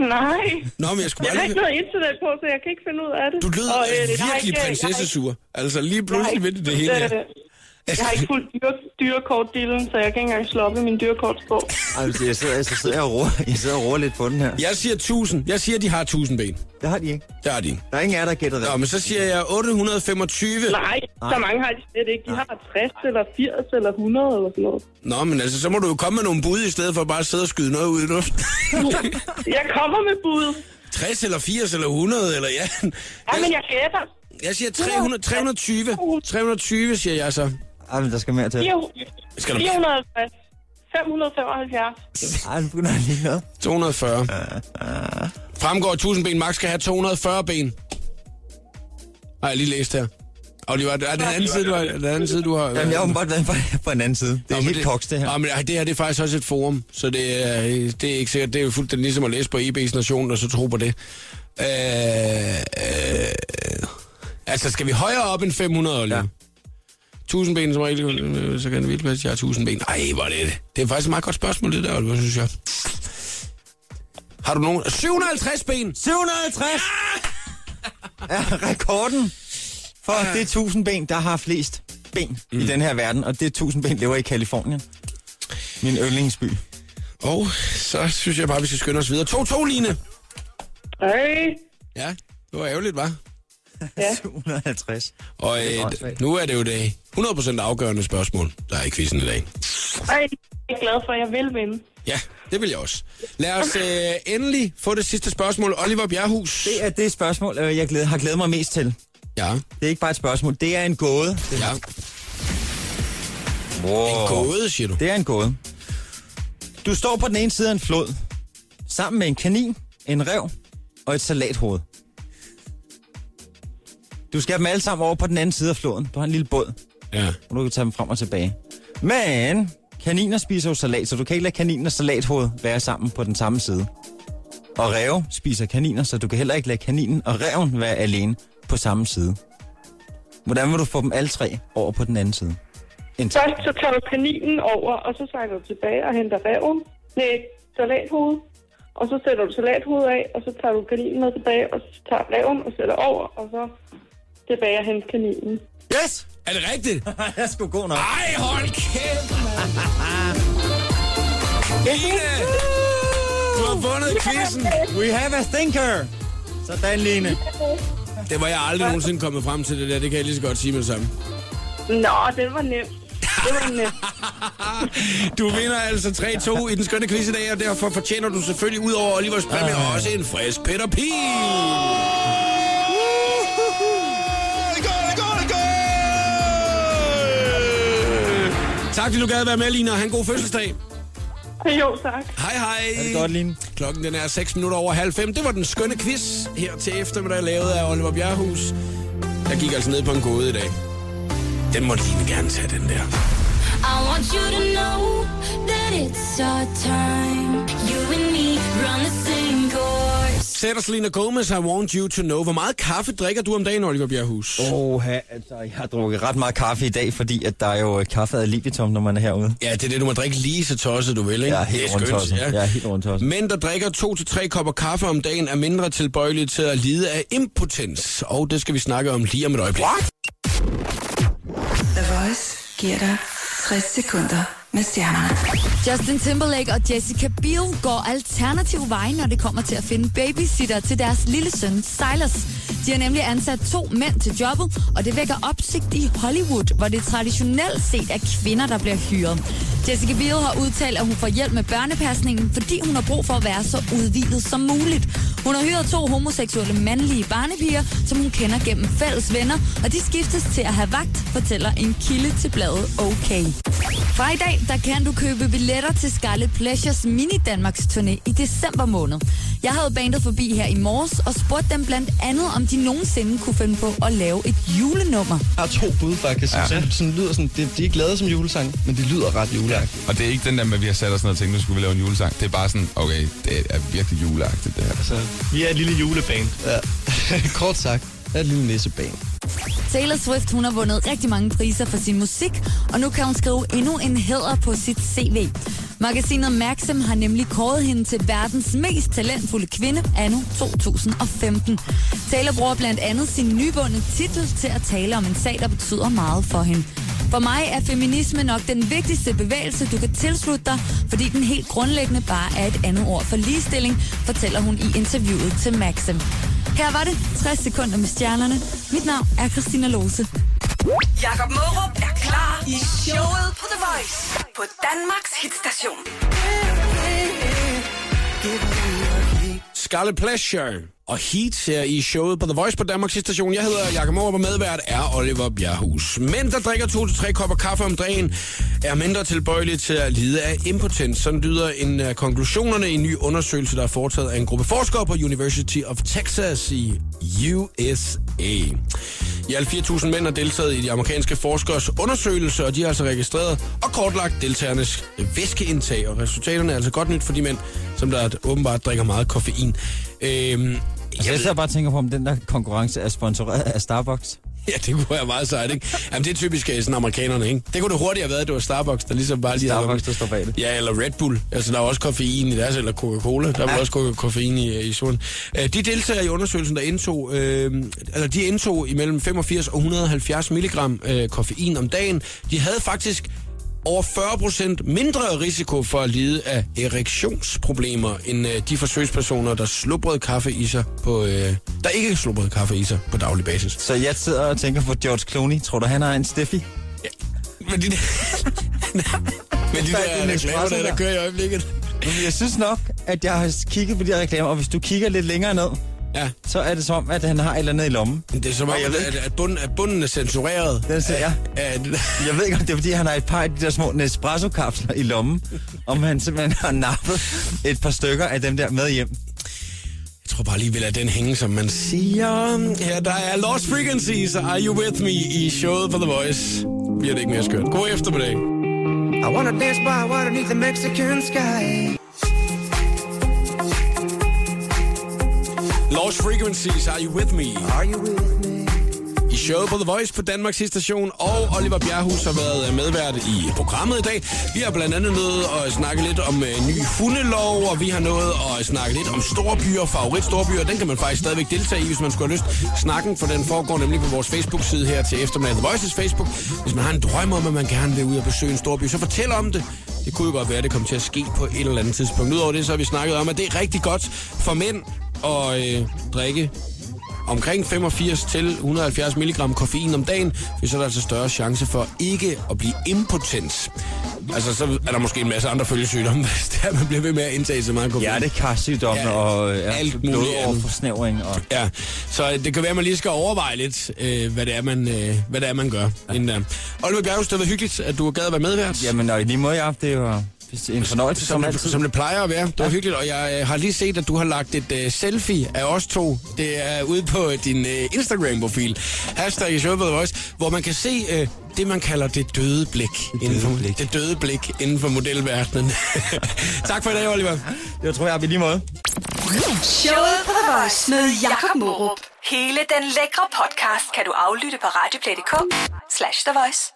Speaker 10: Nej,
Speaker 1: Nå, men jeg skulle
Speaker 10: jeg har
Speaker 1: bare
Speaker 10: ikke noget internet på, så jeg kan ikke finde ud af det.
Speaker 1: Du lyder
Speaker 10: Og,
Speaker 1: og, øh,
Speaker 10: der er
Speaker 1: virkelig
Speaker 10: ikke-
Speaker 1: prinsessesur. Altså lige pludselig
Speaker 10: Nej.
Speaker 1: ved det, det hele her.
Speaker 10: Øh, Jeg har ikke fuldt dyre, dyrekortdelen, så jeg kan ikke engang slå op i min dyrekortsbog.
Speaker 2: Ej, men jeg sidder, jeg sidder, og roer, jeg sidder og roer lidt på den her.
Speaker 1: Jeg siger 1000. Jeg siger, de har 1000 ben.
Speaker 2: Det har de ikke.
Speaker 1: Det har de.
Speaker 2: Der er ingen af jer, der gætter det.
Speaker 1: Nå, men så siger jeg 825.
Speaker 10: Nej, så mange har de slet ikke. De har 60 eller 80 eller 100 eller sådan noget.
Speaker 1: Nå, men altså, så må du jo komme med nogle bud, i stedet for bare at sidde og skyde noget ud i luften. [LAUGHS]
Speaker 10: Jeg kommer med bud.
Speaker 1: 60 eller 80 eller 100, eller ja.
Speaker 10: Ja, men jeg gætter.
Speaker 1: Jeg siger 300, 320. 320, siger jeg så.
Speaker 2: Ej, men der skal mere til.
Speaker 1: Skal du-
Speaker 10: 450. 575.
Speaker 2: Ej, nu begynder jeg lige noget.
Speaker 1: 240. Fremgår, at 1000 ben max skal have 240 ben. Har jeg lige læst her. Oliver, er det den anden side, du har... Den anden side, du har
Speaker 2: Jamen, jeg har åbenbart været på, på en anden side. Det er
Speaker 1: Nå, men
Speaker 2: helt koks, det her.
Speaker 1: Nå, men det her det er faktisk også et forum, så det er, det er ikke sikkert. Det er jo fuldstændig ligesom at læse på EB's Nation, og så tro på det. Øh, øh, altså, skal vi højere op end 500, Oliver? Ja.
Speaker 2: Ja.
Speaker 1: 1000 ben som regel, øh, så kan det vildt passe, at jeg har 1000 ben. Ej, hvor er det det. Det er faktisk et meget godt spørgsmål, det der, Oliver, synes jeg. Har du nogen? 750 ben!
Speaker 2: 750
Speaker 1: Ah!
Speaker 2: er rekorden for det 1000 ben, der har flest ben mm. i den her verden. Og det 1000 ben lever i Kalifornien. Min yndlingsby.
Speaker 1: Og så synes jeg bare, vi skal skynde os videre. 2-2, Line!
Speaker 10: Hey.
Speaker 1: Ja, det var ærgerligt, var.
Speaker 10: Ja.
Speaker 2: 750.
Speaker 1: Og øh, nu er det jo det 100% afgørende spørgsmål, der er i quizzen i dag.
Speaker 10: Ej, jeg er glad for, at jeg vil vinde.
Speaker 1: Ja, det vil jeg også. Lad os øh, endelig få det sidste spørgsmål. Oliver Bjerghus.
Speaker 2: Det er det spørgsmål, øh, jeg glæder, har glædet mig mest til.
Speaker 1: Ja,
Speaker 2: Det er ikke bare et spørgsmål, det er en gåde. Det
Speaker 1: ja.
Speaker 2: wow.
Speaker 1: En gåde, siger du.
Speaker 2: Det er en gåde. Du står på den ene side af en flod, sammen med en kanin, en rev og et salathoved. Du skal have dem alle sammen over på den anden side af floden. Du har en lille båd,
Speaker 1: Ja.
Speaker 2: hvor du kan tage dem frem og tilbage. Men kaniner spiser jo salat, så du kan ikke lade kaninen og salathoved være sammen på den samme side. Og ræve spiser kaniner, så du kan heller ikke lade kaninen og ræven være alene på samme side. Hvordan vil du få dem alle tre over på den anden side? En
Speaker 10: Først så tager du kaninen over, og så sejler du tilbage og henter reven. Nej, salathovedet. Og så sætter du salathovedet af, og så tager du kaninen med tilbage, og så tager reven og sætter over, og så tilbage og henter kaninen.
Speaker 2: Yes! [LAUGHS]
Speaker 1: Er det rigtigt?
Speaker 2: Jeg er sgu god nok.
Speaker 1: Ej, hold kæft, mand. Line, du har vundet quizzen.
Speaker 2: We have a thinker! Sådan, Line.
Speaker 1: Det var jeg aldrig nogensinde kommet frem til det der. Det kan jeg lige så godt sige med det samme.
Speaker 10: Nå, den var nem. Det var nem.
Speaker 1: Du vinder altså 3-2 i den skønne quiz i dag, og derfor fortjener du selvfølgelig ud over Olivers præmie også en frisk Peter Pil. Tak, fordi du gad at være med, Lina. Han god fødselsdag.
Speaker 10: Jo, tak.
Speaker 1: Hej, hej.
Speaker 2: Er det godt, Line?
Speaker 1: Klokken den er 6 minutter over halv fem. Det var den skønne quiz her til eftermiddag, lavet af Oliver Bjerghus. Jeg gik altså ned på en gåde i dag. Den må Line gerne tage, den der.
Speaker 5: I want you to know that it's our time. You and me run the same course.
Speaker 1: Sætter Selena Gomez, I want you to know. Hvor meget kaffe drikker du om dagen, Oliver Bjerghus?
Speaker 2: Oha, altså, jeg har drukket ret meget kaffe i dag, fordi at der er jo øh, kaffe ad libitum, når man er herude.
Speaker 1: Ja, det er det, du må drikke lige så tosset, du vil, ikke?
Speaker 2: Jeg er helt
Speaker 1: det er
Speaker 2: rundt
Speaker 1: skønt,
Speaker 2: ja. Jeg er helt rundt også.
Speaker 1: Mænd, der drikker 2-3 kopper kaffe om dagen, er mindre tilbøjelige til at lide af impotens. Og det skal vi snakke om lige om et øjeblik. What?
Speaker 3: The Voice giver dig 60 sekunder med stjernerne.
Speaker 6: Justin Timberlake og Jessica Biel går alternativ vej, når det kommer til at finde babysitter til deres lille søn Silas. De har nemlig ansat to mænd til jobbet, og det vækker opsigt i Hollywood, hvor det traditionelt set er kvinder, der bliver hyret. Jessica Biel har udtalt, at hun får hjælp med børnepasningen, fordi hun har brug for at være så udvidet som muligt. Hun har hyret to homoseksuelle mandlige barnepiger, som hun kender gennem fælles venner, og de skiftes til at have vagt, fortæller en kilde til bladet OK. Fra i dag, der kan du købe billetter til Scarlet Pleasures Mini Danmarks turné i december måned. Jeg havde bandet forbi her i morges og spurgte dem blandt andet, om de nogensinde kunne finde på at lave et julenummer.
Speaker 11: Jeg har to bud, faktisk. Ja. Som sådan lyder sådan, det, de er ikke lavet som julesang, men de lyder ret juleagtigt.
Speaker 12: Og det er ikke den der med, at vi har sat os ned og tænkt, nu skulle vi lave en julesang. Det er bare sådan, okay, det er virkelig juleagtigt det her.
Speaker 11: Så vi er et lille juleband. Ja. [LAUGHS] Kort sagt, er et lille nisseband.
Speaker 6: Taylor Swift hun har vundet rigtig mange priser for sin musik, og nu kan hun skrive endnu en hæder på sit CV. Magasinet Maxim har nemlig kåret hende til verdens mest talentfulde kvinde anno 2015. Taylor bruger blandt andet sin nyvundne titel til at tale om en sag, der betyder meget for hende. For mig er feminisme nok den vigtigste bevægelse, du kan tilslutte dig, fordi den helt grundlæggende bare er et andet ord for ligestilling, fortæller hun i interviewet til Maxim. Her var det 60 sekunder med stjernerne. Mit navn er Christina Lose.
Speaker 8: Jakob Mørup er klar i showet på The Voice på Danmarks hitstation.
Speaker 1: Scarlet Pleasure og Heat her i showet på The Voice på Danmarks station. Jeg hedder Jakob Morup, og medvært er Oliver Bjerghus. Mænd, der drikker 2-3 kopper kaffe om dagen, er mindre tilbøjelige til at lide af impotens. Sådan lyder en af konklusionerne i en ny undersøgelse, der er foretaget af en gruppe forskere på University of Texas i USA. I alt 4.000 mænd har deltaget i de amerikanske forskeres undersøgelse, og de har altså registreret og kortlagt deltagernes væskeindtag. Og resultaterne er altså godt nyt for de mænd, som der åbenbart drikker meget koffein. Øhm,
Speaker 2: Altså, jeg sidder bare og tænker på, om den der konkurrence er sponsoreret af Starbucks.
Speaker 1: [LAUGHS] Ja, det kunne være meget sejt, ikke? Jamen, det er typisk øh, sådan amerikanerne, ikke? Det kunne det hurtigt have været, at det var Starbucks, der ligesom bare lige
Speaker 2: Starbucks, der står bag det.
Speaker 1: Ja, eller Red Bull. Altså, der er også koffein i deres, eller Coca-Cola. Der er ja. også ko- koffein i, i solen. Øh, De deltagere i undersøgelsen, der indtog, øh, altså, de indtog imellem 85 og 170 milligram øh, koffein om dagen. De havde faktisk over 40% mindre risiko for at lide af erektionsproblemer, end øh, de forsøgspersoner, der slubrede kaffe i sig på, øh, der ikke slubrede kaffe i sig på daglig basis.
Speaker 2: Så jeg sidder og tænker på George Clooney. Tror du, han har en Steffi? [LAUGHS]
Speaker 1: Men de der... Men de
Speaker 2: Fat in
Speaker 1: der reklamer,
Speaker 2: espresso
Speaker 1: der, der
Speaker 2: der.
Speaker 1: kører i øjeblikket.
Speaker 2: Jamen, Jeg synes nok, at jeg har kigget på de her reklamer, og hvis du kigger lidt længere ned,
Speaker 1: ja.
Speaker 2: så er det som, om, at han har et eller andet i lommen.
Speaker 1: Det er som om,
Speaker 2: Og jeg ved
Speaker 1: at,
Speaker 2: ikke-
Speaker 1: at, bunden, at bunden er censureret.
Speaker 2: Den ser jeg.
Speaker 1: At,
Speaker 2: Jeg ved ikke, om det er, fordi han har et par af de der små Nespresso-kapsler i lommen, om han simpelthen har nappet et par stykker af dem der med hjem.
Speaker 1: jeg tror bare lige, vi lader den hænge, som man siger. Ja, der er Lost Frequencies og Are You With Me i showet på The Voice. Bliver det ikke mere skønt. God eftermiddag.
Speaker 9: I wanna dance by water beneath the Mexican sky.
Speaker 1: Lost Frequencies, Are You With Me? Are you with me? I showet på The Voice på Danmarks station, og Oliver Bjerghus har været øh, medvært i programmet i dag. Vi har blandt andet nået at snakke lidt om øh, ny hundelov, og vi har nået at snakke lidt om storbyer, favoritstorبyer. Den kan man faktisk stadigvæk deltage i, hvis man skulle have lyst. Snakken, for den foregår nemlig på vores Facebook-side her til eftermiddag. The Voices Facebook. Hvis man har en drøm om, at man gerne vil ud og besøge en storby, så fortæl om det. Det kunne jo godt være, at det kom til at ske på et eller andet tidspunkt. Udover det, så har vi snakket om, at det er rigtig godt for mænd at øh, drikke omkring 85 til 170 mg koffein om dagen, for så er der altså større chance for ikke at blive impotens. Altså, så er der måske en masse andre følgesygdomme, [LAUGHS] hvis det er, man bliver ved med at indtage så meget koffein.
Speaker 2: Hjertekarsygdomme ja, og øh, ja,
Speaker 1: alt muligt andet.
Speaker 2: blodoverforsnævring. Og...
Speaker 1: Ja, så øh, det kan være, at man lige skal overveje lidt, øh, hvad, det er, man, øh, hvad det er, man gør. Ja. Inden, øh. Oliver Bjerghus, det var hyggeligt, at du har gad at være medvært.
Speaker 2: Jamen, og i lige måde, ja, det var en fornøjelse
Speaker 1: som,
Speaker 2: som
Speaker 1: det,
Speaker 2: altid.
Speaker 1: som det plejer at være. Det var ja. hyggeligt, og jeg øh, har lige set, at du har lagt et øh, selfie af os to. Det er ude på øh, din øh, Instagram-profil. Hashtag i showet på The Voice, hvor man kan se øh, det, man kalder det døde blik. Det døde, inden for, blik. Det døde blik inden for modelverdenen. [LAUGHS] tak for i dag, Oliver.
Speaker 2: Jeg tror, jeg har lige måde.
Speaker 8: Showet på The Voice med Jakob Morup. Hele den lækre podcast kan du aflytte på radioplay.dk slash The Voice.